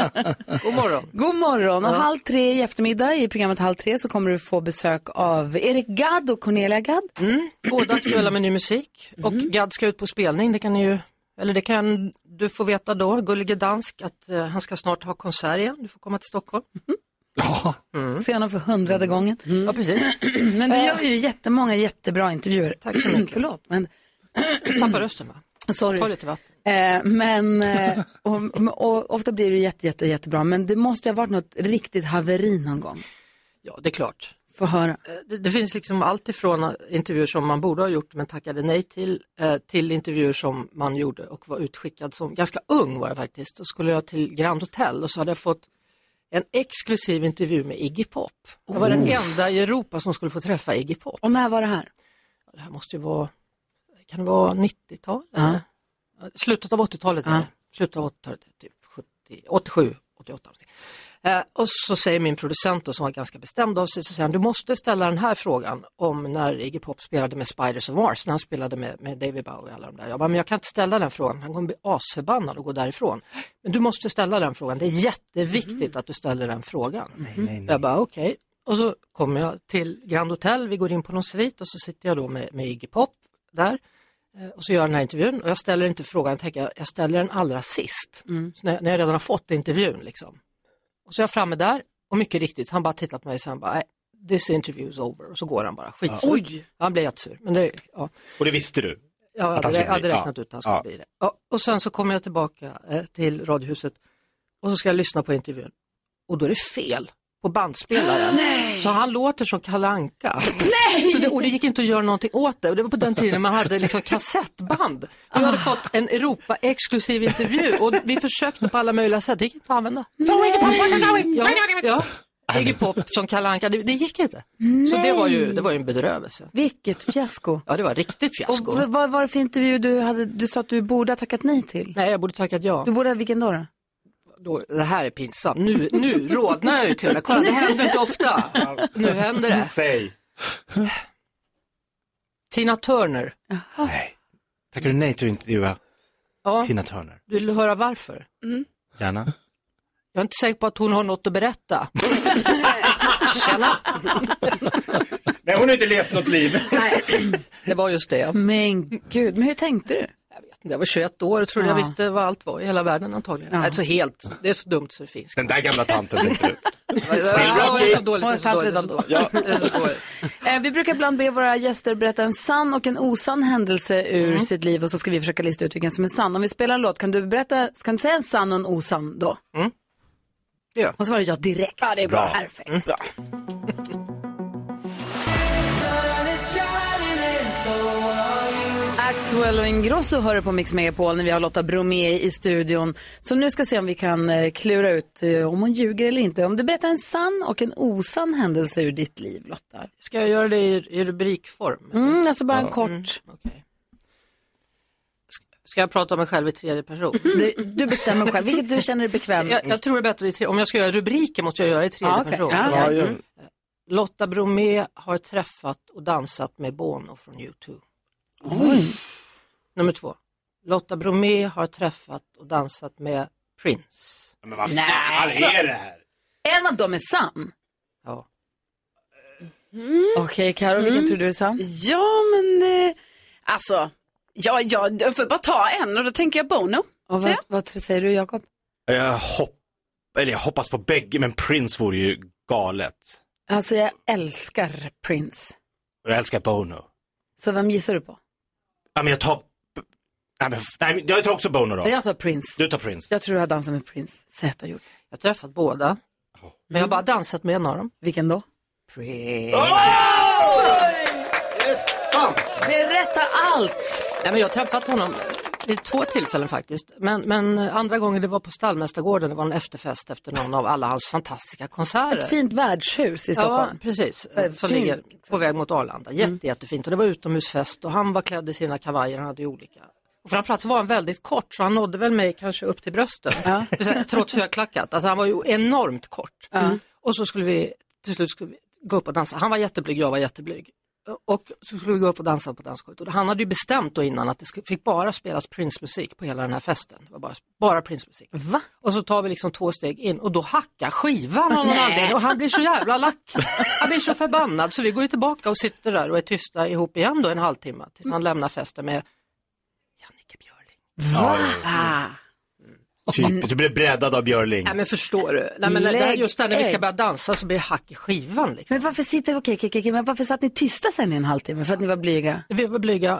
[SPEAKER 15] God morgon.
[SPEAKER 1] God morgon. Och
[SPEAKER 15] Ja.
[SPEAKER 1] halv tre i eftermiddag i programmet Halv tre så kommer du få besök av Erik Gadd och Cornelia Gadd. Mm.
[SPEAKER 15] Båda aktuella med ny musik och
[SPEAKER 16] Mm.
[SPEAKER 15] Gad ska ut på spelning, det kan ni ju, eller det kan du få veta då, Gullige Dansk, att eh, han ska snart ha konsert igen, du får komma till Stockholm.
[SPEAKER 1] Se honom för hundrade gången.
[SPEAKER 15] Ja, precis.
[SPEAKER 1] Men du gör ju jättemånga jättebra intervjuer. Eh. Tack så mycket. Förlåt, men...
[SPEAKER 15] Du tappar rösten va?
[SPEAKER 1] Sorry.
[SPEAKER 15] Ta lite vatten.
[SPEAKER 1] Eh, men eh, och, och, ofta blir det jätte, jätte, jättebra. Men det måste ju ha varit något riktigt haveri någon gång.
[SPEAKER 15] Ja, det är klart.
[SPEAKER 1] Få höra.
[SPEAKER 15] Eh, Det, det finns liksom allt ifrån intervjuer som man borde ha gjort men tackade nej till, eh, till intervjuer som man gjorde och var utskickad som, ganska ung var jag faktiskt, då skulle jag till Grand Hotel och så hade jag fått en exklusiv intervju med Iggy Pop. Jag var den
[SPEAKER 1] Oh.
[SPEAKER 15] enda i Europa som skulle få träffa Iggy Pop.
[SPEAKER 1] Och när var det här?
[SPEAKER 15] Det här måste ju vara, kan det vara 90-tal? eller? Slutet av 80-talet är det. Slutet av 80-talet, typ 70, 87, 88 någonting. Eh, och så säger min producent då, som var ganska bestämd av sig, så säger han, du måste ställa den här frågan om när Iggy Pop spelade med Spiders of Mars, när han spelade med, med David Bowie och alla de där. Jag bara, men jag kan inte ställa den frågan, han kommer bli asförbannad och gå därifrån. Men du måste ställa den frågan, det är jätteviktigt att du ställer den frågan. Jag bara okej. Och så kommer jag till Grand Hotel, vi går in på någon svit och så sitter jag då med, med Iggy Pop där. Eh, Och så gör jag den här intervjun och jag ställer inte frågan, jag tänker jag ställer den allra sist. Så när, när jag redan har fått intervjun liksom. Och så är jag framme där och mycket riktigt, han bara tittar på mig och sen bara, "Nej, this interview is over. Och så går han bara, skitsur.
[SPEAKER 3] Oj!
[SPEAKER 15] Han blev jättesur. Men det, ja.
[SPEAKER 3] Och det visste du?
[SPEAKER 15] Jag
[SPEAKER 9] Att han
[SPEAKER 15] hade,
[SPEAKER 9] skulle
[SPEAKER 15] jag hade
[SPEAKER 9] bli-
[SPEAKER 15] räknat
[SPEAKER 9] ja.
[SPEAKER 15] ut att han skulle
[SPEAKER 9] Ja.
[SPEAKER 15] bli det. Ja, och sen så kommer jag tillbaka eh, till Radiohuset och så ska jag lyssna på intervjun. Och då är det fel på bandspelaren. Så han låter som Kalle Anka. Så det, och det gick inte att göra någonting åt det. Och det var på den tiden man hade liksom kassettband. Vi
[SPEAKER 1] Ah.
[SPEAKER 15] hade fått en Europa-exklusiv intervju och vi försökte på alla möjliga sätt. Det gick inte att använda.
[SPEAKER 5] So Iggy Pop, what's it going?
[SPEAKER 15] Ja, ja. Iggy Pop som Kalle Anka, det, det gick inte. Så det var, ju, det var ju en bedrövelse.
[SPEAKER 1] Vilket fiasko.
[SPEAKER 15] Ja, det var riktigt fiasko.
[SPEAKER 1] Och v- vad var det för intervju du, hade, du sa att du borde ha tackat nej till?
[SPEAKER 15] Nej, jag borde tackat ja.
[SPEAKER 1] Du borde, vilken då? då?
[SPEAKER 15] då, det här är pinsamt. Nu, nu rodnar jag ju till och med. Kolla, det händer inte ofta. Nu händer det.
[SPEAKER 3] Säg.
[SPEAKER 15] Tina Turner.
[SPEAKER 3] Tackar du nej till att intervjua
[SPEAKER 15] Ja.
[SPEAKER 3] Tina Turner?
[SPEAKER 15] Vill du höra varför?
[SPEAKER 1] Mm.
[SPEAKER 3] Gärna.
[SPEAKER 15] Jag är inte säker på att hon har något att berätta. Tjena!
[SPEAKER 3] Nej, hon har inte levt något liv.
[SPEAKER 15] Det var just det.
[SPEAKER 1] Men gud, men hur tänkte du?
[SPEAKER 15] Jag var 21 år och trodde jag
[SPEAKER 1] Ja.
[SPEAKER 15] visste vad allt var i hela världen antagligen.
[SPEAKER 1] Ja.
[SPEAKER 15] Alltså helt, det är så dumt så det finns.
[SPEAKER 3] Den där gamla tanten tänker du.
[SPEAKER 15] Ja, det är så dåligt,
[SPEAKER 1] Hon
[SPEAKER 15] det
[SPEAKER 1] har
[SPEAKER 15] är så
[SPEAKER 1] startat
[SPEAKER 15] dåligt, det är
[SPEAKER 1] redan då.
[SPEAKER 15] så dåligt. Det är så dåligt.
[SPEAKER 1] Eh, Vi brukar ibland be våra gäster berätta en sann och en osann händelse ur
[SPEAKER 15] Mm.
[SPEAKER 1] sitt liv och så ska vi försöka lista ut vilken som är sann. Om vi spelar en låt, kan du berätta, kan du säga en sann och en osann då?
[SPEAKER 15] Mm.
[SPEAKER 1] Och svarar jag direkt.
[SPEAKER 4] Ja, det är bra. Bra.
[SPEAKER 1] Perfekt.
[SPEAKER 15] Bra.
[SPEAKER 1] Axwell och Ingrosso hör på Mix Megapol när vi har Lotta Bromé i studion. Så nu ska se om vi kan eh, klura ut eh, om hon ljuger eller inte. Om du berättar en sann och en osann händelse ur ditt liv, Lotta.
[SPEAKER 15] Ska jag göra det i, i rubrikform?
[SPEAKER 1] Mm, alltså bara en kort.
[SPEAKER 15] okej. Ska- Ska jag prata om mig själv i tredje person?
[SPEAKER 1] Du, du bestämmer själv, vilket du känner dig bekväm med.
[SPEAKER 15] Mm. Jag, jag tror det är bättre i tre, om jag ska göra rubriker måste jag göra det i tredje
[SPEAKER 1] Mm, Ja, okej.
[SPEAKER 15] person.
[SPEAKER 1] Ja, okej.
[SPEAKER 15] Mm. Lotta Bromé har träffat och dansat med Bono från U2.
[SPEAKER 1] Oj.
[SPEAKER 15] Nummer två. Lotta Bromé har träffat och dansat med Prince.
[SPEAKER 3] Men
[SPEAKER 1] vad fan
[SPEAKER 5] Alltså.
[SPEAKER 1] Näsa. är det
[SPEAKER 3] här?
[SPEAKER 1] alltså, En av dem är sann.
[SPEAKER 15] Ja. Mm.
[SPEAKER 1] Okej, Karo, vilken tror du är sann?
[SPEAKER 4] Ja, men eh, alltså, ja, ja, jag får bara ta en och då tänker jag Bono.
[SPEAKER 1] Och vad, vad säger du, Jakob?
[SPEAKER 3] Jag, hopp... Eller jag hoppas på bägge, men Prince vore ju galet.
[SPEAKER 1] Alltså jag älskar Prince.
[SPEAKER 3] Och Jag älskar Bono.
[SPEAKER 1] Så vem gissar du på?
[SPEAKER 3] Ja, men jag tar... Nej, men... Nej, men jag tar också Bono då.
[SPEAKER 1] Jag tar Prince.
[SPEAKER 3] Du tar Prince.
[SPEAKER 1] Jag tror jag dansar med Prince. Säg att du har gjort.
[SPEAKER 15] Jag har träffat båda. Men jag har bara dansat med en av dem.
[SPEAKER 1] Vilken då?
[SPEAKER 15] Prince.
[SPEAKER 3] Det är sant!
[SPEAKER 1] Berätta allt!
[SPEAKER 15] Nej, men jag har träffat honom vid två tillfällen faktiskt. Men, men andra gången det var på Stallmästargården, det var en efterfest efter någon av alla hans fantastiska konserter.
[SPEAKER 1] Ett fint värdshus i Stockholm.
[SPEAKER 15] Ja, precis.
[SPEAKER 1] Så här,
[SPEAKER 15] som
[SPEAKER 1] eh, fint, Mm.
[SPEAKER 15] ligger på väg mot Arlanda. Jätte, Jättefint. Och det var utomhusfest och han var klädd i sina kavajer, han hade ju olika. Och framförallt så var han väldigt kort så han nådde väl mig kanske upp till brösten. Det vill säga, Trots högklackat. Alltså han var ju enormt kort. Mm. Och så skulle vi till slut skulle vi gå upp och dansa. Han var jätteblyg, jag var jätteblyg. Och så skulle vi gå upp och dansa på dansgolvet. Och han hade ju bestämt då innan att det sk- fick bara spelas Prince-musik på hela den här festen. Det var bara, bara Prince-musik.
[SPEAKER 1] Va?
[SPEAKER 15] Och så tar vi liksom två steg in och då hackar skivan av någon
[SPEAKER 5] Nej.
[SPEAKER 15] anledning och han blir så jävla lack. Han blir så förbannad så vi går ju tillbaka och sitter där och är tysta ihop igen då en halvtimme tills han lämnar festen med
[SPEAKER 3] Va?
[SPEAKER 1] Ah.
[SPEAKER 3] Typ, du blev breddad av Björling.
[SPEAKER 15] Nej men förstår du? Nej, men det här,
[SPEAKER 1] Lägg
[SPEAKER 15] just där när vi ska
[SPEAKER 1] ägg.
[SPEAKER 15] börja dansa så blir det hack i skivan. Liksom.
[SPEAKER 1] Men varför sitter, okej, okej, okej, men varför satt ni tysta sen i en halvtimme? För att ni var blyga?
[SPEAKER 15] Vi var blyga.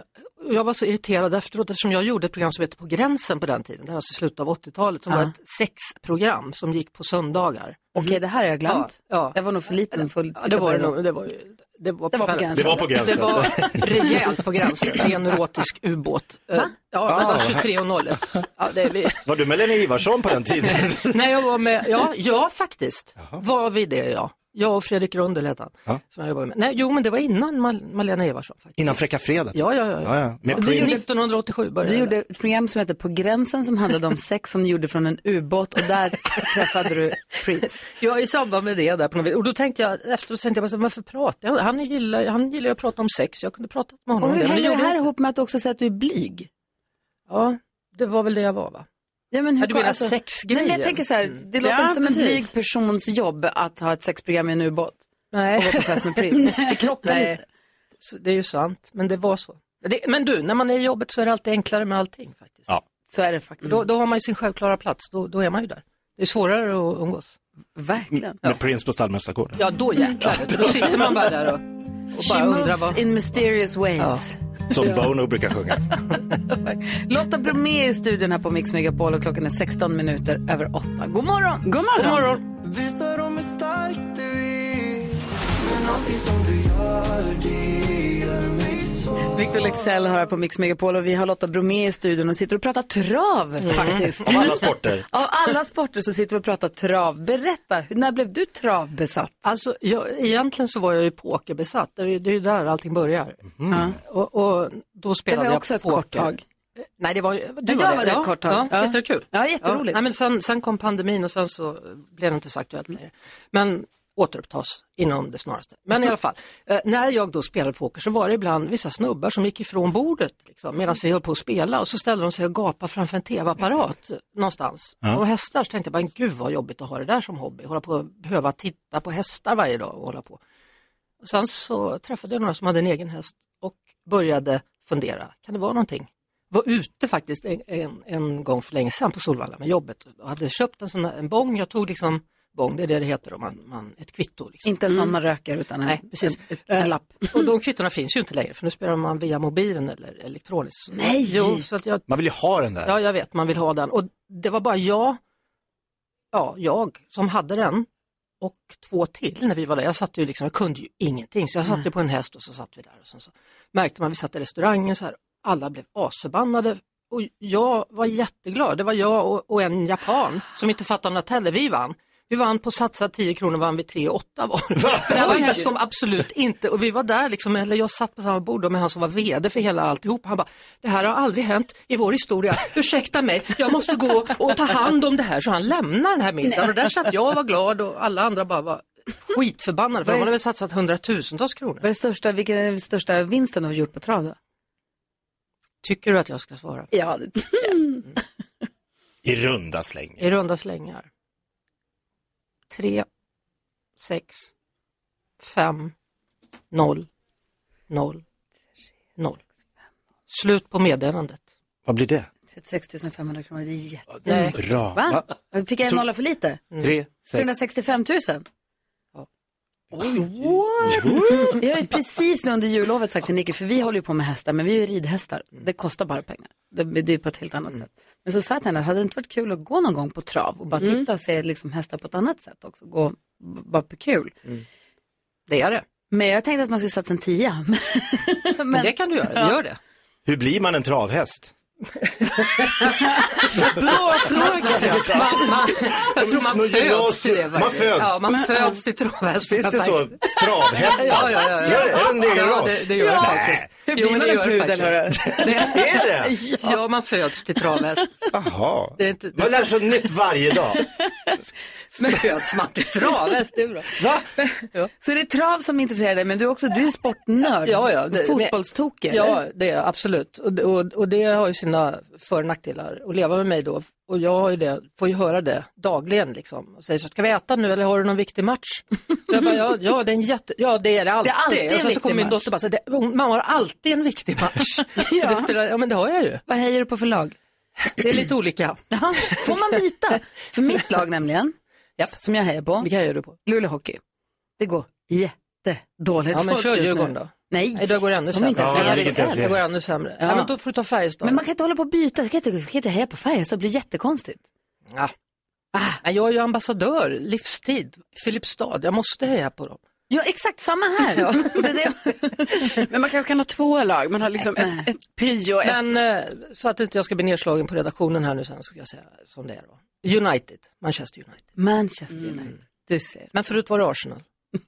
[SPEAKER 15] Och Jag var så irriterad efteråt eftersom jag gjorde ett program som hette På gränsen på den tiden. Det här var alltså slutet av 80-talet som
[SPEAKER 1] Ja.
[SPEAKER 15] var ett sexprogram som gick på söndagar.
[SPEAKER 1] Okej, det här har jag glömt.
[SPEAKER 15] Ja, ja.
[SPEAKER 1] Jag var nog för liten för att
[SPEAKER 15] Ja,
[SPEAKER 1] titta
[SPEAKER 15] det
[SPEAKER 1] på
[SPEAKER 15] var det
[SPEAKER 1] då.
[SPEAKER 15] nog. Det var, ju- det var,
[SPEAKER 1] Det var på gränsen.
[SPEAKER 3] Det var på gränsen.
[SPEAKER 15] Det var rejält på gränsen. Det är en erotisk ubåt. Eh, Ja,
[SPEAKER 3] Ah.
[SPEAKER 15] mellan 23 och 01. Ja, det är vi.
[SPEAKER 3] Var du med Lena Ivarsson på den tiden?
[SPEAKER 15] Nej, jag var med, ja, ja faktiskt. Var vi det, ja. Jag och Fredrik Rundel hette han.
[SPEAKER 3] Ja.
[SPEAKER 15] Som jag jobbade med. Nej, jo, men det var innan Mal- Malena Eversson. Faktiskt.
[SPEAKER 3] Innan Fräcka Fredag?
[SPEAKER 15] Ja, ja, ja.
[SPEAKER 3] ja, ja. Med
[SPEAKER 15] Och du gjorde-
[SPEAKER 3] Prince.
[SPEAKER 15] 1987 började
[SPEAKER 1] Du gjorde ett program som hette På gränsen som handlade om sex som ni gjorde från en ubåt och där träffade du Prince.
[SPEAKER 15] Ja, i samband med det där på något vis. Och då tänkte jag, efteråt tänkte jag bara så, varför pratar jag? Han gillar, han gillar ju att prata om sex, jag kunde prata med honom
[SPEAKER 1] Och
[SPEAKER 15] om
[SPEAKER 1] hur
[SPEAKER 15] det, men
[SPEAKER 1] hänger det
[SPEAKER 15] gjorde jag
[SPEAKER 1] här
[SPEAKER 15] inte.
[SPEAKER 1] ihop med att du också säger att du är blyg?
[SPEAKER 15] Ja, det var väl det jag var va?
[SPEAKER 1] Ja, men hur
[SPEAKER 15] Ja, du menar
[SPEAKER 1] alltså-
[SPEAKER 15] sexgrejen?
[SPEAKER 1] Nej, men jag tänker så här, det
[SPEAKER 15] Mm.
[SPEAKER 1] låter
[SPEAKER 15] Ja,
[SPEAKER 1] inte som en
[SPEAKER 15] precis.
[SPEAKER 1] blyg persons jobb att ha ett sexprogram i en ubåt.
[SPEAKER 15] Nej.
[SPEAKER 1] Och vara på fest med prins. Det krockar
[SPEAKER 15] Nej.
[SPEAKER 1] lite.
[SPEAKER 15] Så Det är ju sant, men det var så. Det, men du, när man är i jobbet så är det alltid enklare med allting. faktiskt.
[SPEAKER 3] Ja.
[SPEAKER 1] Så är det faktiskt.
[SPEAKER 15] Då, då har man ju sin självklara plats, då, då är man ju där. Det är svårare att umgås.
[SPEAKER 1] Verkligen.
[SPEAKER 3] Med Prince på
[SPEAKER 15] Mm.
[SPEAKER 3] Stallmästargården.
[SPEAKER 15] Ja, då jäklar. Då sitter man bara där och, och
[SPEAKER 1] She
[SPEAKER 15] bara undrar
[SPEAKER 1] moves
[SPEAKER 15] vad...
[SPEAKER 1] in mysterious ways.
[SPEAKER 3] Som Bono brukar sjunga.
[SPEAKER 1] Lotta Bromé är i studion här på Mix Megapol och klockan är 16 minuter över 8. God morgon!
[SPEAKER 4] God morgon! God
[SPEAKER 5] Visa dem hur stark du är Men allting som du gör det gör mig svår
[SPEAKER 1] Victor Lexell har här på Mix Megapol och vi har Lotta Bromé i studion och sitter och pratar trav
[SPEAKER 15] Mm.
[SPEAKER 1] faktiskt.
[SPEAKER 3] Av alla sporter.
[SPEAKER 1] Av alla sporter så sitter vi och pratar trav. Berätta, hur- när blev du travbesatt?
[SPEAKER 15] Alltså, jag, egentligen så var jag ju pokerbesatt. Det är ju, det är ju där allting börjar. Och, och då spelade
[SPEAKER 1] var
[SPEAKER 15] jag
[SPEAKER 1] också ett
[SPEAKER 15] poker. Eh,
[SPEAKER 1] kort tag.
[SPEAKER 15] Nej, det var ju...
[SPEAKER 1] Men jag var det ett kort tag.
[SPEAKER 15] Ja,
[SPEAKER 1] Ja.
[SPEAKER 15] Visst är det kul?
[SPEAKER 1] Ja, jätteroligt.
[SPEAKER 15] Nej, men sen, sen kom pandemin och sen så blev det inte så aktuellt
[SPEAKER 1] Mm.
[SPEAKER 15] längre. Men återupptas inom det snaraste. Men i alla fall, eh, när jag då spelade poker så var det ibland vissa snubbar som gick ifrån bordet liksom, medan vi höll på att spela och så ställde de sig och gapade framför en tv-apparat eh, någonstans.
[SPEAKER 5] Ja.
[SPEAKER 15] Och hästar så tänkte jag bara, gud vad jobbigt att ha det där som hobby, hålla på och behöva titta på hästar varje dag och hålla på. Och sen så träffade jag några som hade en egen häst och började fundera, kan det vara någonting? Var ute faktiskt en, en, en gång för länge sedan på Solvalla med jobbet och hade köpt en sån där, en bång, jag tog liksom bång, det är det det heter om man, man, ett kvitto. Liksom.
[SPEAKER 1] Inte en sån man röker utan en,
[SPEAKER 15] Nej, precis. Eh,
[SPEAKER 1] en, en, en lapp.
[SPEAKER 15] Och de kvittona finns ju inte längre för nu spelar man via mobilen eller elektroniskt.
[SPEAKER 1] Nej!
[SPEAKER 15] Jo, så att jag
[SPEAKER 3] Man vill ju ha den där.
[SPEAKER 15] Ja, jag vet, man vill ha den. Och det var bara jag, ja, jag som hade den och två till när vi var där. Jag satt ju liksom, jag kunde ju ingenting, så jag satt ju på en häst och så satt vi där. Och sen så märkte man, vi satt i restaurangen så här, alla blev asförbannade. Och jag var jätteglad, det var jag och, och en japan som inte fattade något heller, vi vann. Vi vann på satsa 10 kronor, vann vi 3 8 var. För det var en häst som absolut inte, och vi var där liksom, eller jag satt på samma bord då med han som var VD för hela alltihop. Han bara, det här har aldrig hänt i vår historia, ursäkta mig, jag måste gå och ta hand om det här. Så han lämnar den här middagen och där satt jag och var glad och alla andra bara var skitförbannade för de hade väl satsat hundratusentals kronor.
[SPEAKER 1] Vad är det största, vilken är den största vinsten du har gjort på trav då?
[SPEAKER 15] Tycker du att jag ska svara?
[SPEAKER 1] Ja, det tycker jag.
[SPEAKER 3] I runda slängar.
[SPEAKER 15] I runda slängar. Tre, sex, fem, noll, noll, noll. Slut på meddelandet.
[SPEAKER 3] Vad blir det?
[SPEAKER 1] 36 500 kronor, det är jätte...
[SPEAKER 15] Nej.
[SPEAKER 3] Bra.
[SPEAKER 1] Va?
[SPEAKER 3] Va?
[SPEAKER 1] Fick jag en
[SPEAKER 3] Tog-
[SPEAKER 1] nolla för lite?
[SPEAKER 3] Tre, sex.
[SPEAKER 1] 365 000?
[SPEAKER 3] Oj.
[SPEAKER 1] What? Jag har ju precis nu under jullovet sagt till Nicky, för vi håller ju på med hästar, men vi är ju ridhästar. Det kostar bara pengar. Det det är på ett helt annat
[SPEAKER 15] Mm.
[SPEAKER 1] sätt. Men så sa jag till henne, hade det inte varit kul att gå någon gång på trav och bara
[SPEAKER 4] Mm.
[SPEAKER 1] titta och se liksom hästar på ett annat sätt också? Gå, b- bara på kul.
[SPEAKER 15] Mm. Det är det.
[SPEAKER 1] Men jag tänkte att man skulle satsa en tia. Men,
[SPEAKER 15] det kan du göra, gör det.
[SPEAKER 3] Hur blir man en travhäst?
[SPEAKER 15] Bra fråga! Man, man, jag tror man
[SPEAKER 5] Men
[SPEAKER 15] föds till det.
[SPEAKER 5] gymnasium-
[SPEAKER 15] verkligen.
[SPEAKER 5] man föds.
[SPEAKER 15] Ja, man
[SPEAKER 5] Men-
[SPEAKER 15] föds till travhäst.
[SPEAKER 5] Finns det så?
[SPEAKER 3] Travhästar?
[SPEAKER 15] Ja, ja, ja. ja.
[SPEAKER 5] Gör det? Är det en egen
[SPEAKER 15] ja,
[SPEAKER 5] ras?
[SPEAKER 15] Det, det gör
[SPEAKER 5] Ja.
[SPEAKER 15] det faktiskt.
[SPEAKER 5] Hur blir
[SPEAKER 15] men
[SPEAKER 5] man
[SPEAKER 15] det
[SPEAKER 5] en
[SPEAKER 15] gör det
[SPEAKER 5] pudel,
[SPEAKER 15] faktiskt. Det
[SPEAKER 5] Är det?
[SPEAKER 15] Ja, man föds till travhäst.
[SPEAKER 3] Jaha.
[SPEAKER 15] Det är inte...
[SPEAKER 3] Man lär sig nytt varje dag.
[SPEAKER 15] Men föds man till travhäst, det är bra.
[SPEAKER 3] Va?
[SPEAKER 1] Så det är trav som intresserar dig, men du är också du är sportnörd.
[SPEAKER 15] Ja, ja.
[SPEAKER 1] Och Fotbollstokig.
[SPEAKER 15] Ja,
[SPEAKER 1] eller?
[SPEAKER 15] det är jag, absolut. Och, och, och det har ju sina för och nackdelar att leva med mig då. Och jag har ju det, får ju höra det dagligen liksom. Och säger så, ska vi äta nu eller har du någon viktig match? Så jag bara, ja, ja, det är en jätte, ja det är det alltid.
[SPEAKER 1] alltid en
[SPEAKER 15] och sen så
[SPEAKER 1] viktig
[SPEAKER 15] kommer min
[SPEAKER 1] match.
[SPEAKER 15] dotter bara, så, det, hon- mamma har alltid en viktig match. ja. Det spelar, ja men det har jag ju.
[SPEAKER 1] Vad hejar du på för lag?
[SPEAKER 15] Det är lite olika.
[SPEAKER 1] Jaha, får man byta? För mitt lag nämligen, som jag hejar på.
[SPEAKER 15] Vilka hejar du på?
[SPEAKER 1] Luleå Hockey. Det går jättedåligt
[SPEAKER 15] Ja, men
[SPEAKER 1] för oss
[SPEAKER 15] kör
[SPEAKER 1] just nu.
[SPEAKER 15] Djurgården då.
[SPEAKER 1] Nej,
[SPEAKER 15] Nej, det går ännu
[SPEAKER 1] de är
[SPEAKER 15] sämre.
[SPEAKER 1] inte ens
[SPEAKER 15] Ja,
[SPEAKER 1] med.
[SPEAKER 15] det gick inte ens Det går ännu sämre. Ja.
[SPEAKER 1] Ja.
[SPEAKER 15] men då får du ta Färjestad.
[SPEAKER 1] Men man kan inte hålla på och byta, jag kan inte, jag kan inte heja på Färjestad, det blir jättekonstigt.
[SPEAKER 15] Ja.
[SPEAKER 1] Ah.
[SPEAKER 15] Nej, Jag är ju ambassadör, livstid, Filipstad, jag måste heja på dem.
[SPEAKER 1] Ja, exakt samma här. Ja.
[SPEAKER 4] Men man kanske kan ha två lag, man har liksom ett, ett prio och ett...
[SPEAKER 15] Men eh, så att inte jag ska bli nedslagen på redaktionen här nu sen, ska jag säga som det är då. United, Manchester United. Mm.
[SPEAKER 1] Manchester United, du ser.
[SPEAKER 15] Men förut var det Arsenal.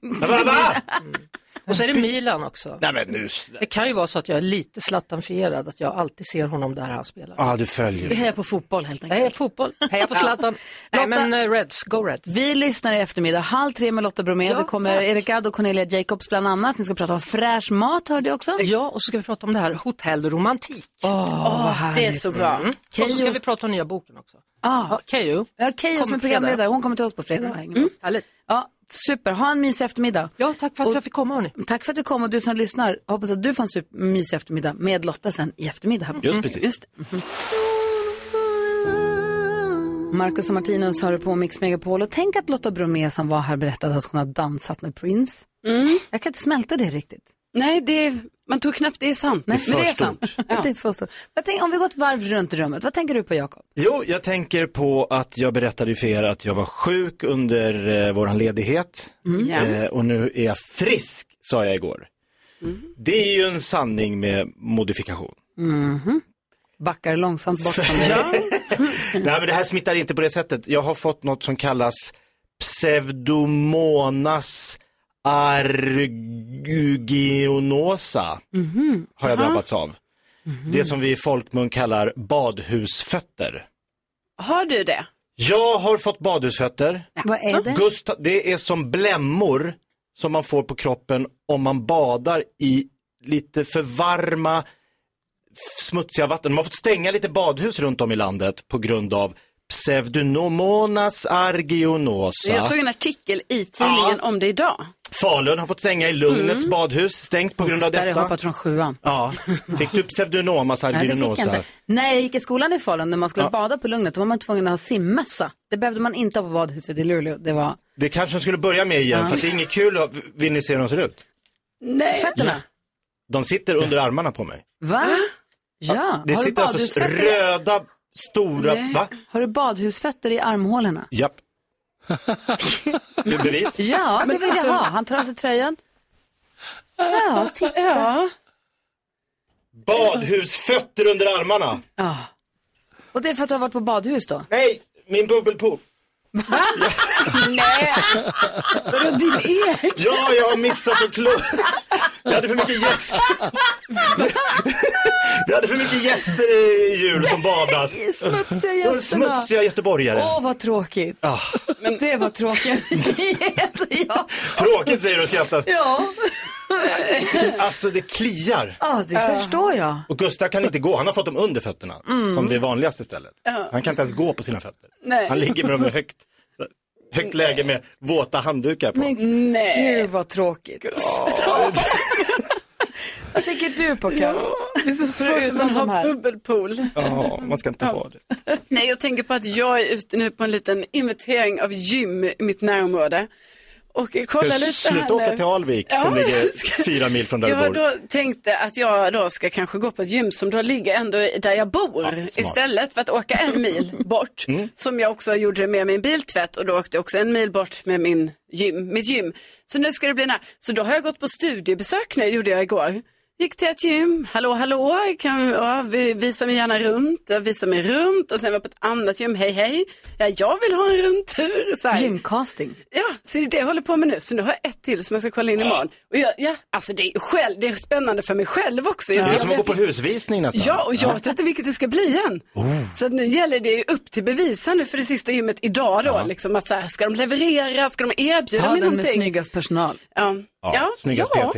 [SPEAKER 15] Mm. Och så är det Milan också.
[SPEAKER 3] Nej men nu.
[SPEAKER 15] Det kan ju vara så att jag är lite slattanfierad, att jag alltid ser honom där han spelar.
[SPEAKER 3] Ja, ah, du följer.
[SPEAKER 1] Du hejar på fotboll helt enkelt.
[SPEAKER 15] Heja fotboll, heja på Zlatan. Nej men eh, Reds, go Reds.
[SPEAKER 1] Vi lyssnar i eftermiddag, halv tre med Lotta Bromé. det kommer Erik Gadd och Cornelia Jacobs bland annat. Ni ska prata om fräsch mat, hörde jag också.
[SPEAKER 15] Ja, och så ska vi prata om det här hotellromantik.
[SPEAKER 1] Åh, vad härligt.
[SPEAKER 15] Mm. Och så ska vi prata om nya boken också.
[SPEAKER 1] Ah.
[SPEAKER 15] Keyyo.
[SPEAKER 1] Ja, Keyyo som
[SPEAKER 15] Kommer
[SPEAKER 1] är
[SPEAKER 15] på
[SPEAKER 1] programledare.
[SPEAKER 15] fredag. Mm.
[SPEAKER 1] Hon kommer till oss på fredag. och hänger med oss.
[SPEAKER 15] Härligt.
[SPEAKER 1] Ja, super. Ha en mysig eftermiddag.
[SPEAKER 15] Ja, tack för att jag fick komma. Hörni.
[SPEAKER 1] Tack för att du kom och du som lyssnar. jag Hoppas att du får en super mysig eftermiddag med Lotta sen i eftermiddag. Här. på-
[SPEAKER 3] Just precis.
[SPEAKER 1] Just Marcus och Martinus har du på Mix Megapol och tänk att Lotta Bromé som
[SPEAKER 15] Mm.
[SPEAKER 1] var här berättade att hon har dansat med Prince. Jag kan inte smälta det riktigt.
[SPEAKER 4] Nej, det är... Man tror knappt det är sant.
[SPEAKER 1] Nej,
[SPEAKER 3] Det är
[SPEAKER 1] men det är
[SPEAKER 3] för
[SPEAKER 1] sant. Det är för stort. Vad tänk, om vi går ett varv runt rummet, vad tänker du på Jakob?
[SPEAKER 3] Jo, jag tänker på att jag berättade ju för er att jag var sjuk under eh, våran ledighet.
[SPEAKER 1] Mm. Ja.
[SPEAKER 3] Eh, och nu är jag frisk, sa jag igår.
[SPEAKER 1] Mm.
[SPEAKER 3] Det är ju en sanning med modifikation.
[SPEAKER 1] Mhm. Backar långsamt bort från dig.
[SPEAKER 3] Nej, men det här smittar inte på det sättet. Jag har fått något som kallas pseudomonas argyginosa.
[SPEAKER 5] Mhm.
[SPEAKER 3] Har jag
[SPEAKER 5] Aha.
[SPEAKER 3] drabbats av.
[SPEAKER 1] Mhm.
[SPEAKER 3] Det som vi i folkmun kallar badhusfötter.
[SPEAKER 4] Har du det?
[SPEAKER 3] Jag har fått badhusfötter.
[SPEAKER 4] Vad är det?
[SPEAKER 3] Gustav, det är som blämmor som man får på kroppen om man badar i lite för varma f- smutsiga vatten. Man har fått stänga lite badhus runt om i landet på grund av pseudomonas argionosa.
[SPEAKER 4] Jag såg en artikel i tidningen om det idag.
[SPEAKER 3] Falun har fått stänga i Lugnets
[SPEAKER 4] Mm.
[SPEAKER 3] badhus, stängt på grund av
[SPEAKER 1] Där har jag
[SPEAKER 3] detta.
[SPEAKER 1] hoppat från sjuan.
[SPEAKER 3] Ja. Fick du pseudomonas
[SPEAKER 1] Nej, det fick jag
[SPEAKER 3] argionosa?
[SPEAKER 1] inte. När jag gick i skolan i Falun, när man skulle
[SPEAKER 3] Ja.
[SPEAKER 1] bada på Lugnet, då var man tvungen att ha simmössa. Det behövde man inte ha på badhuset i Luleå. Det var...
[SPEAKER 3] Det kanske de skulle börja med igen,
[SPEAKER 1] Ja.
[SPEAKER 3] för att det är inget kul. att- Vill ni se hur de ser ut?
[SPEAKER 1] Nej. Fötterna?
[SPEAKER 3] De sitter under armarna på mig.
[SPEAKER 1] Va? Ja.
[SPEAKER 3] Det
[SPEAKER 1] har, du
[SPEAKER 3] sitter alltså
[SPEAKER 1] badhusfötter i-
[SPEAKER 3] röda, stora,
[SPEAKER 1] Nej.
[SPEAKER 3] va?
[SPEAKER 1] har du badhusfötter i armhålorna?
[SPEAKER 3] Japp. Det är bevis.
[SPEAKER 1] Ja, det
[SPEAKER 3] Men
[SPEAKER 1] vill
[SPEAKER 3] alltså-
[SPEAKER 1] jag ha. Han tar av sig tröjan. Ja, titta. Ja.
[SPEAKER 3] Badhusfötter under armarna.
[SPEAKER 1] Och det är för att du har varit på badhus då?
[SPEAKER 3] Nej, min bubbelpool.
[SPEAKER 1] Nej.
[SPEAKER 5] Vadå din egen?
[SPEAKER 3] Ja, jag har missat att klå. Jag hade för mycket gäster. Vi hade för mycket gäster i jul som badade.
[SPEAKER 1] I smutsiga
[SPEAKER 3] Det var
[SPEAKER 1] gästerna.
[SPEAKER 3] Smutsiga göteborgare.
[SPEAKER 1] Åh, vad tråkigt.
[SPEAKER 3] Ah,
[SPEAKER 1] Men... Det var tråkigt.
[SPEAKER 3] tråkigt säger du och skrattar.
[SPEAKER 1] ja.
[SPEAKER 3] Alltså det kliar.
[SPEAKER 1] Ja, det förstår jag.
[SPEAKER 3] Och Gustav kan inte gå, han har fått dem under fötterna.
[SPEAKER 1] Mm.
[SPEAKER 3] Som det vanligaste stället.
[SPEAKER 1] Ja.
[SPEAKER 3] Han kan inte ens gå på sina fötter.
[SPEAKER 1] Nej.
[SPEAKER 3] Han ligger med dem i högt, högt läge med våta handdukar på.
[SPEAKER 1] Men Nej. gud vad tråkigt. vad tänker du på Carro?
[SPEAKER 4] Det är så svårt
[SPEAKER 1] Förutom
[SPEAKER 4] att
[SPEAKER 1] de
[SPEAKER 4] ha
[SPEAKER 1] här.
[SPEAKER 4] bubbelpool.
[SPEAKER 3] Ja, man ska inte ha det.
[SPEAKER 4] Nej, jag tänker på att jag är ute nu på en liten inventering av gym i mitt närområde. Och eh, kolla
[SPEAKER 3] Ska
[SPEAKER 4] lite
[SPEAKER 3] du
[SPEAKER 4] här
[SPEAKER 3] sluta åka
[SPEAKER 4] nu.
[SPEAKER 3] till Alvik som
[SPEAKER 4] Ja,
[SPEAKER 3] ligger
[SPEAKER 4] jag ska-
[SPEAKER 3] fyra mil från där du
[SPEAKER 4] Jag
[SPEAKER 3] bor?
[SPEAKER 4] då tänkte att jag då ska kanske gå på ett gym som då ligger ändå där jag bor istället för att åka en mil bort. Som jag också gjorde med min biltvätt och då åkte jag också en mil bort med min gym, mitt gym. Så nu ska det bli nära. Så då har jag gått på studiebesök nu, gjorde jag igår. Gick till ett gym, hallå hallå, kan, ja, vi- visa mig gärna runt, jag visar mig runt och sen var jag på ett annat gym, hej hej, ja, jag vill ha en rundtur. Så här.
[SPEAKER 1] Gymcasting.
[SPEAKER 4] Ja, så det är det jag håller på med nu. Så nu har jag ett till som jag ska kolla in imorgon. Och jag, ja, alltså det är, själv, det är spännande för mig själv också.
[SPEAKER 3] Det
[SPEAKER 4] Jag,
[SPEAKER 3] är
[SPEAKER 4] jag
[SPEAKER 3] som att gå
[SPEAKER 4] vet
[SPEAKER 3] på
[SPEAKER 4] ju-
[SPEAKER 3] husvisning nästan.
[SPEAKER 4] Ja, och jag vet inte vilket det ska bli än.
[SPEAKER 3] Oh.
[SPEAKER 4] Så att nu gäller det ju upp till bevis här nu för det sista gymmet idag då. Liksom att så här, ska de leverera, ska de erbjuda
[SPEAKER 1] Ta
[SPEAKER 4] mig
[SPEAKER 1] den med
[SPEAKER 4] någonting?
[SPEAKER 1] snyggast personal. Mhm.
[SPEAKER 4] ja,
[SPEAKER 1] Ja, snyggast
[SPEAKER 4] ja.
[SPEAKER 1] PT.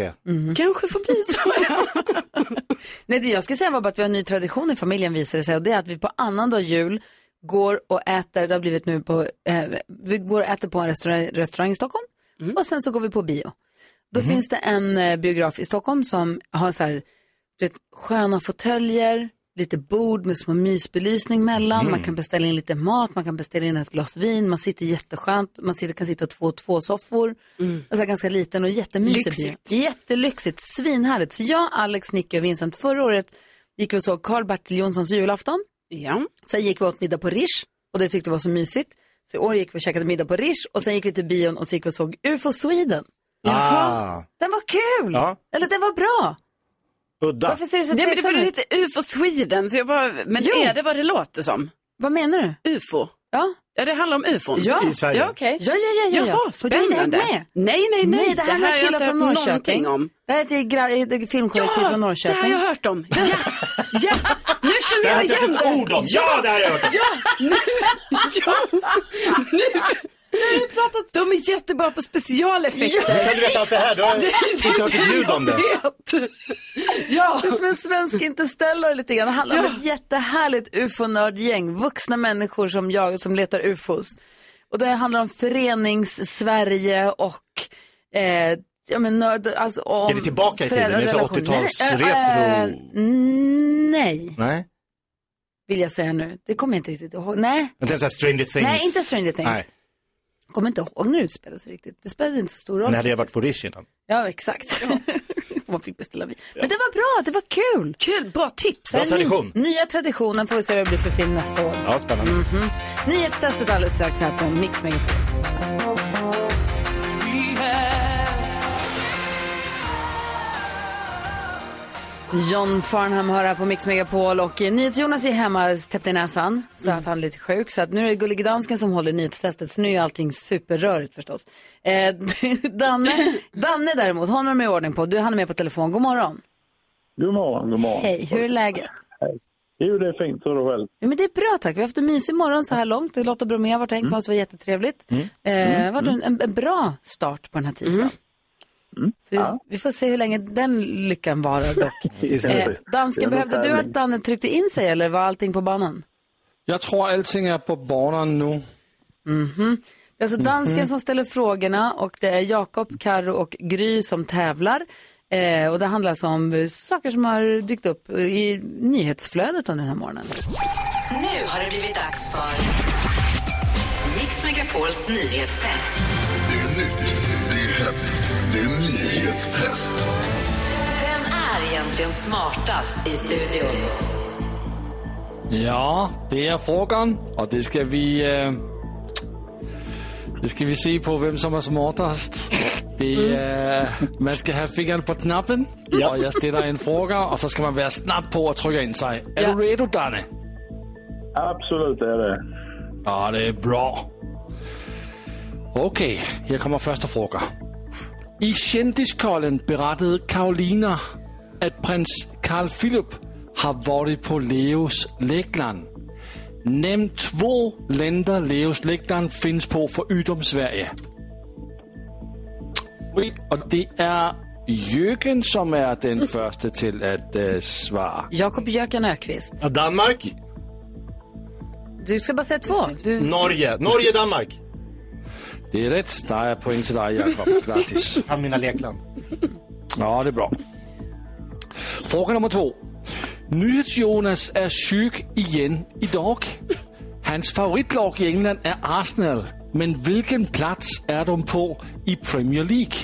[SPEAKER 4] Kanske får bli så.
[SPEAKER 1] Nej, det jag ska säga var bara att vi har en ny tradition i familjen visar det sig och det är att vi på annandag jul går och äter, det har blivit nu på, eh, vi går och äter på en restaurang, restaurang i Stockholm
[SPEAKER 4] Mm.
[SPEAKER 1] och sen så går vi på bio. Då
[SPEAKER 4] Mhm.
[SPEAKER 1] finns det en eh, biograf i Stockholm som har så här, du vet, sköna fåtöljer, lite bord med små mysbelysning mellan,
[SPEAKER 4] Mm.
[SPEAKER 1] man kan beställa in lite mat, man kan beställa in ett glas vin, man sitter jätteskönt, man sitter, kan sitta två och två soffor, alltså ganska liten och jättemysig bio.
[SPEAKER 4] Lyxigt.
[SPEAKER 1] Jättelyxigt, svinhärligt. Så jag, Alex, Nicky och Vincent, förra året gick vi och såg Karl-Bertil Jonssons julafton.
[SPEAKER 4] Ja.
[SPEAKER 1] Sen gick vi åt middag på Rish och det tyckte vi var så mysigt. Så i år gick vi och käkade middag på Rish och sen gick vi till bion och så gick vi och såg UFO Sweden.
[SPEAKER 3] Ah,
[SPEAKER 1] Den var kul!
[SPEAKER 3] Ja.
[SPEAKER 1] Eller den var bra!
[SPEAKER 3] udda.
[SPEAKER 1] Varför ser du så
[SPEAKER 4] Nej, men det
[SPEAKER 1] tveksam
[SPEAKER 4] var
[SPEAKER 1] ut?
[SPEAKER 4] lite UFO Sweden, så jag bara, men
[SPEAKER 1] Jo.
[SPEAKER 4] är det vad det låter som?
[SPEAKER 1] Vad menar
[SPEAKER 4] du? UFO.
[SPEAKER 1] Ja.
[SPEAKER 4] Ja, det handlar om UFOn.
[SPEAKER 1] Ja. I Sverige.
[SPEAKER 4] Ja, okej.
[SPEAKER 1] Ja, ja, ja, ja, ja.
[SPEAKER 4] Jaha,
[SPEAKER 1] Och du har inte
[SPEAKER 4] spännande.
[SPEAKER 1] hängt med?
[SPEAKER 4] Nej, nej, nej.
[SPEAKER 1] det här,
[SPEAKER 4] har
[SPEAKER 1] är
[SPEAKER 4] jag
[SPEAKER 1] killar
[SPEAKER 4] inte
[SPEAKER 1] från
[SPEAKER 4] hört
[SPEAKER 1] Norrköpig.
[SPEAKER 4] någonting om.
[SPEAKER 1] Det här är ett gra- ett filmkollektiv
[SPEAKER 4] Ja,
[SPEAKER 1] från Norrköping.
[SPEAKER 4] det har jag hört om. Ja, ja, nu känner
[SPEAKER 1] Det här
[SPEAKER 4] jag
[SPEAKER 1] finns
[SPEAKER 4] igen
[SPEAKER 1] ett ord om. Ja, det här har jag hört om.
[SPEAKER 4] Ja, nu, ja, nu. De är jättebra på specialeffekter.
[SPEAKER 1] Ja. Hur kan du veta allt det här? Du har inte hört ett ljud om det.
[SPEAKER 4] det. Ja.
[SPEAKER 1] Det är som en svensk interstellare lite grann. Det handlar om ett jättehärligt ufo-nördgäng. Vuxna människor som jag som letar ufos. Och det handlar om förenings-Sverige och eh, Ja, men nörd, alltså om
[SPEAKER 3] Är det tillbaka i tiden? Är det så
[SPEAKER 1] föräldrarelationer.
[SPEAKER 3] 80-tals
[SPEAKER 1] Nej,
[SPEAKER 3] retro?
[SPEAKER 1] eh, nej,
[SPEAKER 3] Nej.
[SPEAKER 1] vill jag säga nu. Det kommer jag inte riktigt ihåg. Nej,
[SPEAKER 3] Men typ såhär Stranger Things.
[SPEAKER 1] Nej, inte Stranger Things.
[SPEAKER 3] Nej.
[SPEAKER 1] kommer inte ihåg när det utspelade sig riktigt. Det spelade inte så stor roll.
[SPEAKER 3] Men hade jag varit på Rish innan?
[SPEAKER 1] Ja, exakt. Man fick beställa vin. Men det var bra, det var kul.
[SPEAKER 4] Kul, bra tips.
[SPEAKER 3] Bra tradition.
[SPEAKER 1] Nya traditionen får vi se vad det blir för film nästa år.
[SPEAKER 3] Ja, spännande.
[SPEAKER 4] Mm.
[SPEAKER 1] Mhm. Nyhetstestet alldeles strax här på Mix Megapol. John Farnham hör här på Mix Megapol och eh, NyhetsJonas är hemma täppt i näsan så
[SPEAKER 4] Mm.
[SPEAKER 1] att han är lite sjuk. Så att nu är det Gullige Dansken som håller nyhetstestet så nu är allting superrörigt förstås. Eh, Danne, Danne däremot, honom är med i ordning på. Du han är med på telefon. God morgon.
[SPEAKER 10] God morgon, god morgon.
[SPEAKER 1] Hej, hur är läget?
[SPEAKER 10] Hej. Jo, det är fint. Hur är det själv?
[SPEAKER 1] Ja, men det är bra tack. Vi har haft en mysig morgon så här långt. Lotta Bromé har varit häng på oss, det var jättetrevligt.
[SPEAKER 10] Mm.
[SPEAKER 1] Eh,
[SPEAKER 10] Mm.
[SPEAKER 1] varit en, en, en bra start på den här tisdagen. Så vi, vi får se hur länge den lyckan varar dock. Eh,
[SPEAKER 6] Det är så. Det är
[SPEAKER 1] dansken,
[SPEAKER 6] en
[SPEAKER 1] behövde du
[SPEAKER 6] tävling.
[SPEAKER 1] att Danne tryckte in sig eller var allting på banan?
[SPEAKER 6] Jag tror allting är på banan nu.
[SPEAKER 1] Mhm. Det är alltså dansken
[SPEAKER 6] Mhm.
[SPEAKER 1] som ställer frågorna och det är Jakob, Karo och Gry som tävlar. Eh, och det handlar alltså om eh, saker som har dykt upp i nyhetsflödet under den här morgonen.
[SPEAKER 5] Nu har det blivit dags för Mix Megapols nyhetstest.
[SPEAKER 16] Det är nytt, det är hett, det är nyhetstest.
[SPEAKER 5] Vem är egentligen smartast i studion?
[SPEAKER 6] Ja, det är frågan och det ska vi... eh, det ska vi se på vem som är smartast.
[SPEAKER 1] Mm.
[SPEAKER 6] Det är, man ska ha fingret på knappen och jag ställer en fråga och så ska man vara snabb på att trycka in sig. Är du redo Danne?
[SPEAKER 10] Absolut är det.
[SPEAKER 6] Ja, det är bra. Okej, här kommer första frågan. I Kändiskollen berättade Karolina att prins Carl Philip har varit på Leos lekland. Nämn två länder Leos lekland finns på förutom Sverige. Oj, Och det är Jürgen som är den första till att eh, svara.
[SPEAKER 1] Jakob Jöken Ökvist.
[SPEAKER 3] Danmark?
[SPEAKER 1] Du ska bara säga två. Du...
[SPEAKER 3] Norge. Norge, Danmark.
[SPEAKER 6] Det är rätt. Der er point till dig, Jakob. Grattis.
[SPEAKER 3] Av mina lekland.
[SPEAKER 6] Ja, det är bra. Fråga nummer två. Nyhets-Jonas är sjuk igen idag. Hans favoritlag i England är Arsenal. Men vilken plats är de på i Premier League?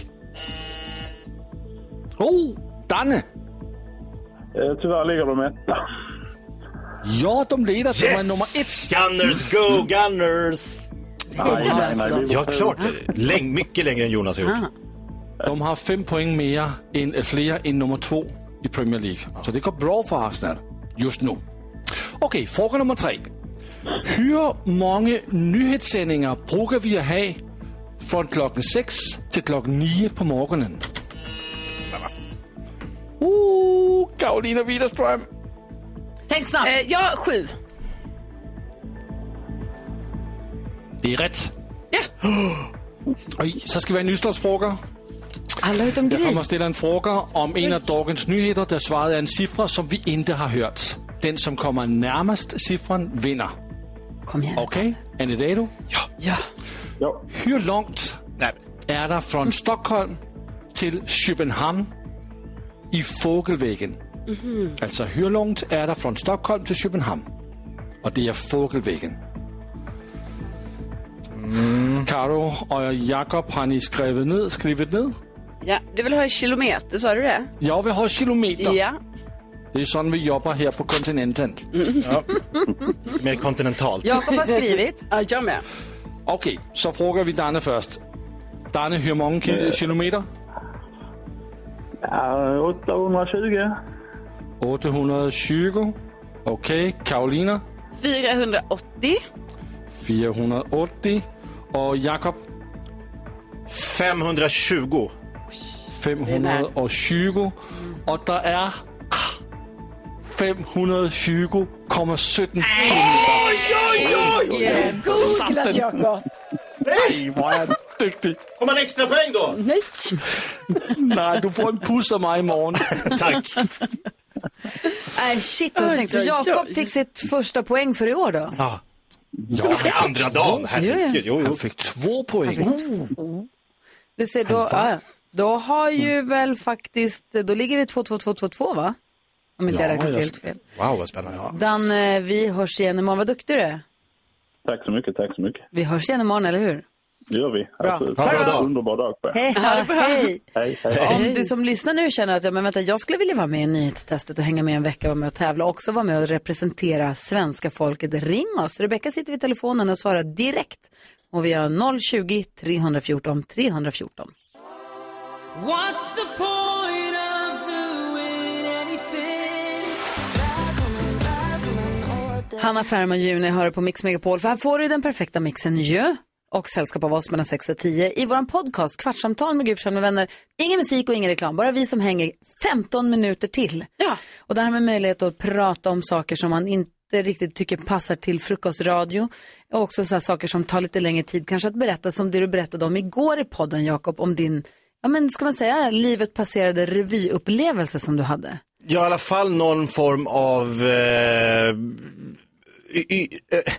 [SPEAKER 6] Oh, Danne!
[SPEAKER 10] Eh, Tyvärr ligger de etta.
[SPEAKER 6] Ja, de leder. De är
[SPEAKER 10] Yes!
[SPEAKER 6] nummer ett.
[SPEAKER 3] Gunners, go Gunners!
[SPEAKER 6] Nej, nej, nej, det är
[SPEAKER 3] Ja,
[SPEAKER 6] bara-
[SPEAKER 3] klart.
[SPEAKER 4] Mm.
[SPEAKER 3] Läng, mycket längre än Jonas har gjort.
[SPEAKER 6] De har fem poäng mer än, fler än nummer två i Premier League.
[SPEAKER 3] Ah.
[SPEAKER 6] Så det går bra för Arsenal just nu. Okej, fråga nummer tre. Hur många nyhetssändningar brukar vi att ha från klockan sex till klockan nio på morgonen? Uh, Karolina Widerström.
[SPEAKER 1] Tänk snabbt.
[SPEAKER 4] Eh, ja, sju.
[SPEAKER 6] Det är rätt. Ja. Oj, så ska vi ha en utslagsfråga.
[SPEAKER 1] Alla utom
[SPEAKER 6] Jag
[SPEAKER 1] Gry.
[SPEAKER 6] kommer att ställa en fråga om en av dagens nyheter där svaret är en siffra som vi inte har hört. Den som kommer närmast siffran vinner.
[SPEAKER 1] Kom igen.
[SPEAKER 6] Okej, är ni redo? Ja.
[SPEAKER 1] ja.
[SPEAKER 6] Hur långt är det från Stockholm till Köpenhamn i fågelvägen?
[SPEAKER 18] Mhm.
[SPEAKER 6] Alltså hur långt är det från Stockholm till Köpenhamn? Och det är fågelvägen. Karo och Jakob, har ni skrivit ned? Skrivit ned?
[SPEAKER 4] Ja, du vill ha i kilometer, sa du det?
[SPEAKER 6] Ja, vi har kilometer.
[SPEAKER 4] Ja.
[SPEAKER 6] Det är sån vi jobbar här på kontinenten. Ja.
[SPEAKER 3] Mer kontinentalt.
[SPEAKER 1] Mm. Jakob har skrivit.
[SPEAKER 4] ja, jag med.
[SPEAKER 6] Okej, så frågar vi Danne först. Danne, hur många ki-
[SPEAKER 10] Eh.
[SPEAKER 6] kilometer?
[SPEAKER 10] Ja, 820.
[SPEAKER 6] 820. Okej, Karolina
[SPEAKER 4] 480.
[SPEAKER 6] 480. Och Jakob?
[SPEAKER 3] 520.
[SPEAKER 6] 520. Och det är 520,17 kilometer.
[SPEAKER 4] Googlat, Jakob.
[SPEAKER 6] Nej, vad är jag duktig.
[SPEAKER 3] Får man extra poäng då?
[SPEAKER 4] Nej.
[SPEAKER 6] Nej, du får en puss av mig imorgon.
[SPEAKER 3] Tack.
[SPEAKER 1] Nej, Äh, shit vad
[SPEAKER 4] Oj,
[SPEAKER 1] snyggt.
[SPEAKER 4] oj,
[SPEAKER 1] Så
[SPEAKER 4] oj.
[SPEAKER 1] Jakob fick sitt första poäng för i år då.
[SPEAKER 3] Ja. Ja, det är andra dagen. Herregud. Jo, jo.
[SPEAKER 6] Han fick två poäng.
[SPEAKER 1] Du ser, då, ja, då har ju väl faktiskt, då ligger vi 2-2-2-2-2 va? Om inte jag räknat helt fel.
[SPEAKER 3] Wow, vad spännande. Ja.
[SPEAKER 1] Dan, eh, vi hörs igen imorgon. Vad duktig du är.
[SPEAKER 10] Tack så mycket, tack så mycket.
[SPEAKER 1] Vi hörs igen imorgon, eller hur?
[SPEAKER 17] Det gör vi.
[SPEAKER 1] Bra.
[SPEAKER 17] Absolut.
[SPEAKER 1] Ha en bra
[SPEAKER 17] Ha
[SPEAKER 1] dag.
[SPEAKER 17] en underbar dag på er.
[SPEAKER 1] Hej, hej.
[SPEAKER 17] Hej, hej,
[SPEAKER 1] Om du som lyssnar nu känner att ja, men vänta, jag skulle vilja vara med i nyhetstestet och hänga med en vecka, vara med och tävla och också vara med och representera svenska folket, ring oss. Rebecka sitter vid telefonen och svarar direkt. Och vi har 020 314 314.
[SPEAKER 5] What's the point of doing anything?
[SPEAKER 1] Hanna Färman Juni hör på Mix Megapol, för här får du den perfekta mixen ju. Och sällskap av oss mellan 6 och 10 i vår podcast Kvartsamtal med Gry Forssell med vänner. Ingen musik och ingen reklam, bara vi som hänger 15 minuter till. Ja. Och det här med möjlighet att prata om saker som man inte riktigt tycker passar till frukostradio. Och också så här saker som tar lite längre tid kanske att berätta, som det du berättade om igår i podden Jakob, om din, ja men ska man säga, livet passerade revyupplevelse som du hade.
[SPEAKER 3] Ja, i alla fall någon form av eh, y, y, eh,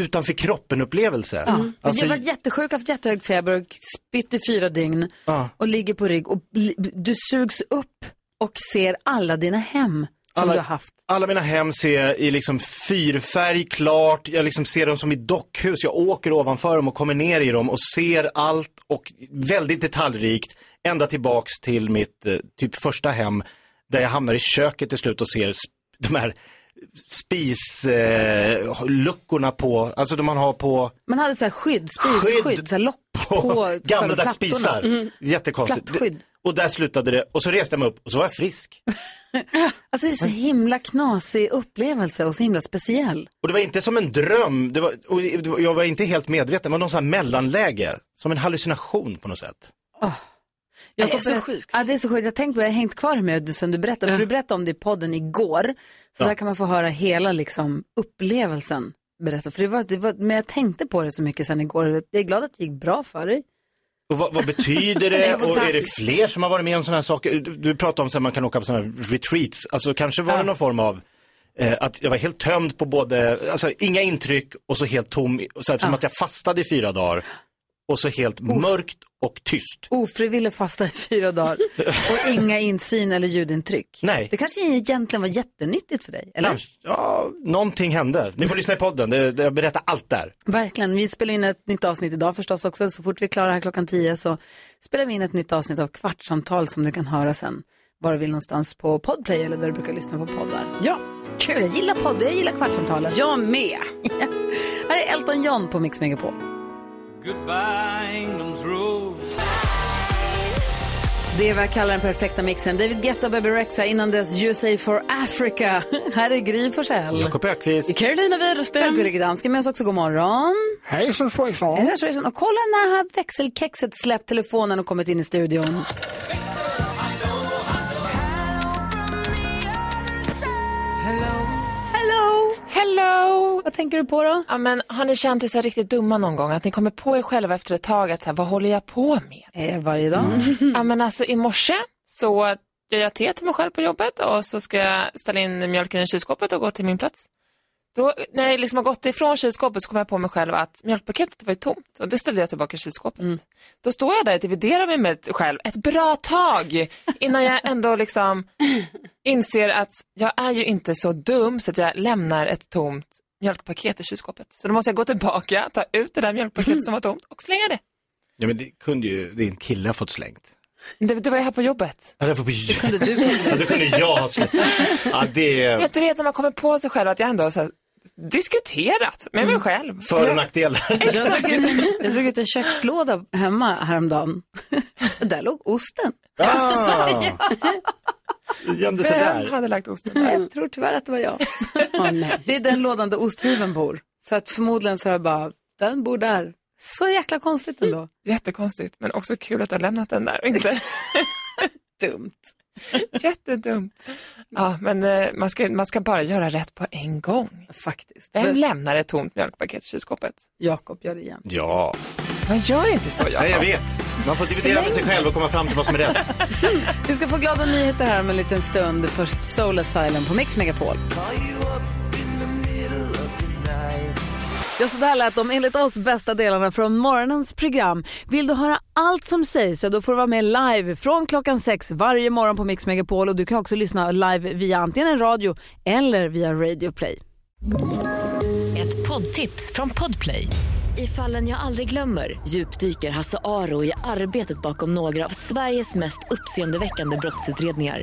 [SPEAKER 3] utanför kroppen-upplevelse. Alltså,
[SPEAKER 1] Mm. jag har varit jättesjuk, haft jättehög feber och spytt i fyra dygn och ligger på rygg och bli- du sugs upp och ser alla dina hem som
[SPEAKER 3] alla,
[SPEAKER 1] du har haft.
[SPEAKER 3] alla mina hem ser jag i liksom fyrfärg klart, jag liksom ser dem som i dockhus. Jag åker ovanför dem och kommer ner i dem och ser allt och väldigt detaljrikt ända tillbaks till mitt eh, typ första hem där jag hamnar i köket till slut och ser sp- de här spisluckorna eh, luckorna på, alltså de man har på
[SPEAKER 1] Man hade så här skydd, spisskydd, så här lock på, själva
[SPEAKER 3] gammaldags
[SPEAKER 1] plattorna.
[SPEAKER 3] spisar.
[SPEAKER 1] Mm.
[SPEAKER 3] Jättekonstigt.
[SPEAKER 1] Plattskydd.
[SPEAKER 3] Och där slutade det och så reste jag mig upp och så var jag frisk.
[SPEAKER 1] Alltså det är så himla knasig upplevelse och så himla speciell.
[SPEAKER 3] Och det var inte som en dröm, det var, och det var, jag var inte helt medveten, det var någon sån här mellanläge, som en hallucination på något sätt.
[SPEAKER 1] Jakob,
[SPEAKER 4] Det är så
[SPEAKER 1] berätt- Ja, det är så sjukt. Jag tänkte på, jag har hängt kvar med det sen du berättade, för du berättade om det i podden igår. Så
[SPEAKER 3] Ja.
[SPEAKER 1] där kan man få höra hela liksom, upplevelsen berätta. För det var, det var, men jag tänkte på det så mycket sen igår. Jag är glad att det gick bra för dig.
[SPEAKER 3] Och vad, vad betyder det?
[SPEAKER 1] Exakt.
[SPEAKER 3] och är det fler som har varit med om sådana här saker? Du, du pratade om att man kan åka på sådana här retreats, alltså kanske var det någon form av eh, att jag var helt tömd på både, alltså inga intryck och så helt tom, i- och så här, som att jag fastade i fyra dagar och så helt
[SPEAKER 1] Oh.
[SPEAKER 3] mörkt och tyst.
[SPEAKER 1] Ofrivillig fasta i fyra dagar och inga insyn eller ljudintryck.
[SPEAKER 3] Nej.
[SPEAKER 1] Det kanske egentligen var jättenyttigt för dig, eller?
[SPEAKER 3] Kanske- Ja, någonting hände. Ni får lyssna i podden, det, det, jag berättar allt där.
[SPEAKER 1] Verkligen. Vi spelar in ett nytt avsnitt idag förstås också. Så fort vi är klara här klockan tio så spelar vi in ett nytt avsnitt av Kvartsamtal som du kan höra sen. Bara vill någonstans på Podplay eller där du brukar lyssna på poddar. Ja. Kul, jag gillar podd, jag gillar Kvartsamtalet. Jag med. här är Elton John på Mix Megapol.
[SPEAKER 19] Goodbye, England's road.
[SPEAKER 1] Det är vad jag kallar den perfekta mixen. David Guetta och Bebe Rexha innan dess USA for Africa. här är Gry Forssell.
[SPEAKER 3] Jakob Ökvist.
[SPEAKER 1] Carolina Widerström. Gullige dansken med oss också. God morgon. Hejsan svejsan. svejsan. Och kolla när här växelkexet släppt telefonen och kommit in i studion. Hello!
[SPEAKER 9] Hello!
[SPEAKER 1] Vad tänker du på då?
[SPEAKER 9] Ja, men har ni känt er så här riktigt dumma någon gång? Att ni kommer på er själva efter ett tag att så här, vad håller jag på med?
[SPEAKER 1] Eh, varje dag.
[SPEAKER 9] ja, men alltså i morse så gör jag te till mig själv på jobbet och så ska jag ställa in mjölken i kylskåpet och gå till min plats. Då, när jag liksom har gått ifrån kylskåpet så kommer jag på mig själv att mjölkpaketet var ju tomt och det ställde jag tillbaka i kylskåpet. Då står jag där och dividerar mig med själv ett bra tag innan jag ändå liksom inser att jag är ju inte så dum så att jag lämnar ett tomt mjölkpaket i kylskåpet. Så då måste jag gå tillbaka, ta ut det där mjölkpaketet som var tomt och slänga det.
[SPEAKER 3] Ja men det kunde ju din kille ha fått slängt.
[SPEAKER 9] Det, det var ju här på jobbet.
[SPEAKER 3] Ja, det, får bli... det kunde du ja, det kunde jag ha slängt. Ja, det är
[SPEAKER 9] Men du vet när man kommer på sig själv att jag ändå har så här diskuterat med mig själv.
[SPEAKER 3] Mm. för och nackdelar.
[SPEAKER 1] Jag drog ut- jag drog ut en kökslåda hemma häromdagen. Och där låg osten. Alltså,
[SPEAKER 3] Ah.
[SPEAKER 5] Alltså,
[SPEAKER 1] Så, ja.
[SPEAKER 3] Det gömde sig
[SPEAKER 9] Vem
[SPEAKER 3] där.
[SPEAKER 9] hade lagt osten där?
[SPEAKER 1] Jag tror tyvärr att det var jag. Det är den lådan där osthyveln bor. Så att förmodligen så har jag bara, den bor där. Så jäkla konstigt ändå.
[SPEAKER 9] Jättekonstigt, men också kul att du har lämnat den där och inte...
[SPEAKER 1] Dumt.
[SPEAKER 9] Jättedumt. Ja, men eh, man ska, man ska bara göra rätt på en gång.
[SPEAKER 1] Faktiskt.
[SPEAKER 9] Vem
[SPEAKER 1] Men-
[SPEAKER 9] lämnar ett tomt mjölkpaket i kylskåpet?
[SPEAKER 1] Jakob gör det igen.
[SPEAKER 3] Ja.
[SPEAKER 9] Man gör inte så, Jakob.
[SPEAKER 3] Nej, jag vet. Man får dividera med sig själv och komma fram till vad som är rätt.
[SPEAKER 1] Vi ska få glada nyheter här om en liten stund. Först Soul Asylum på Mix Megapol. Ja, så där lät de enligt oss bästa delarna från morgonens program. Vill du höra allt som sägs så då får du vara med live från klockan sex varje morgon på Mix Megapol och du kan också lyssna live via antingen en radio eller via Radio Play.
[SPEAKER 8] Ett poddtips från Podplay. I fallen jag aldrig glömmer djupdyker Hasse Aro i arbetet bakom några av Sveriges mest uppseendeväckande brottsutredningar.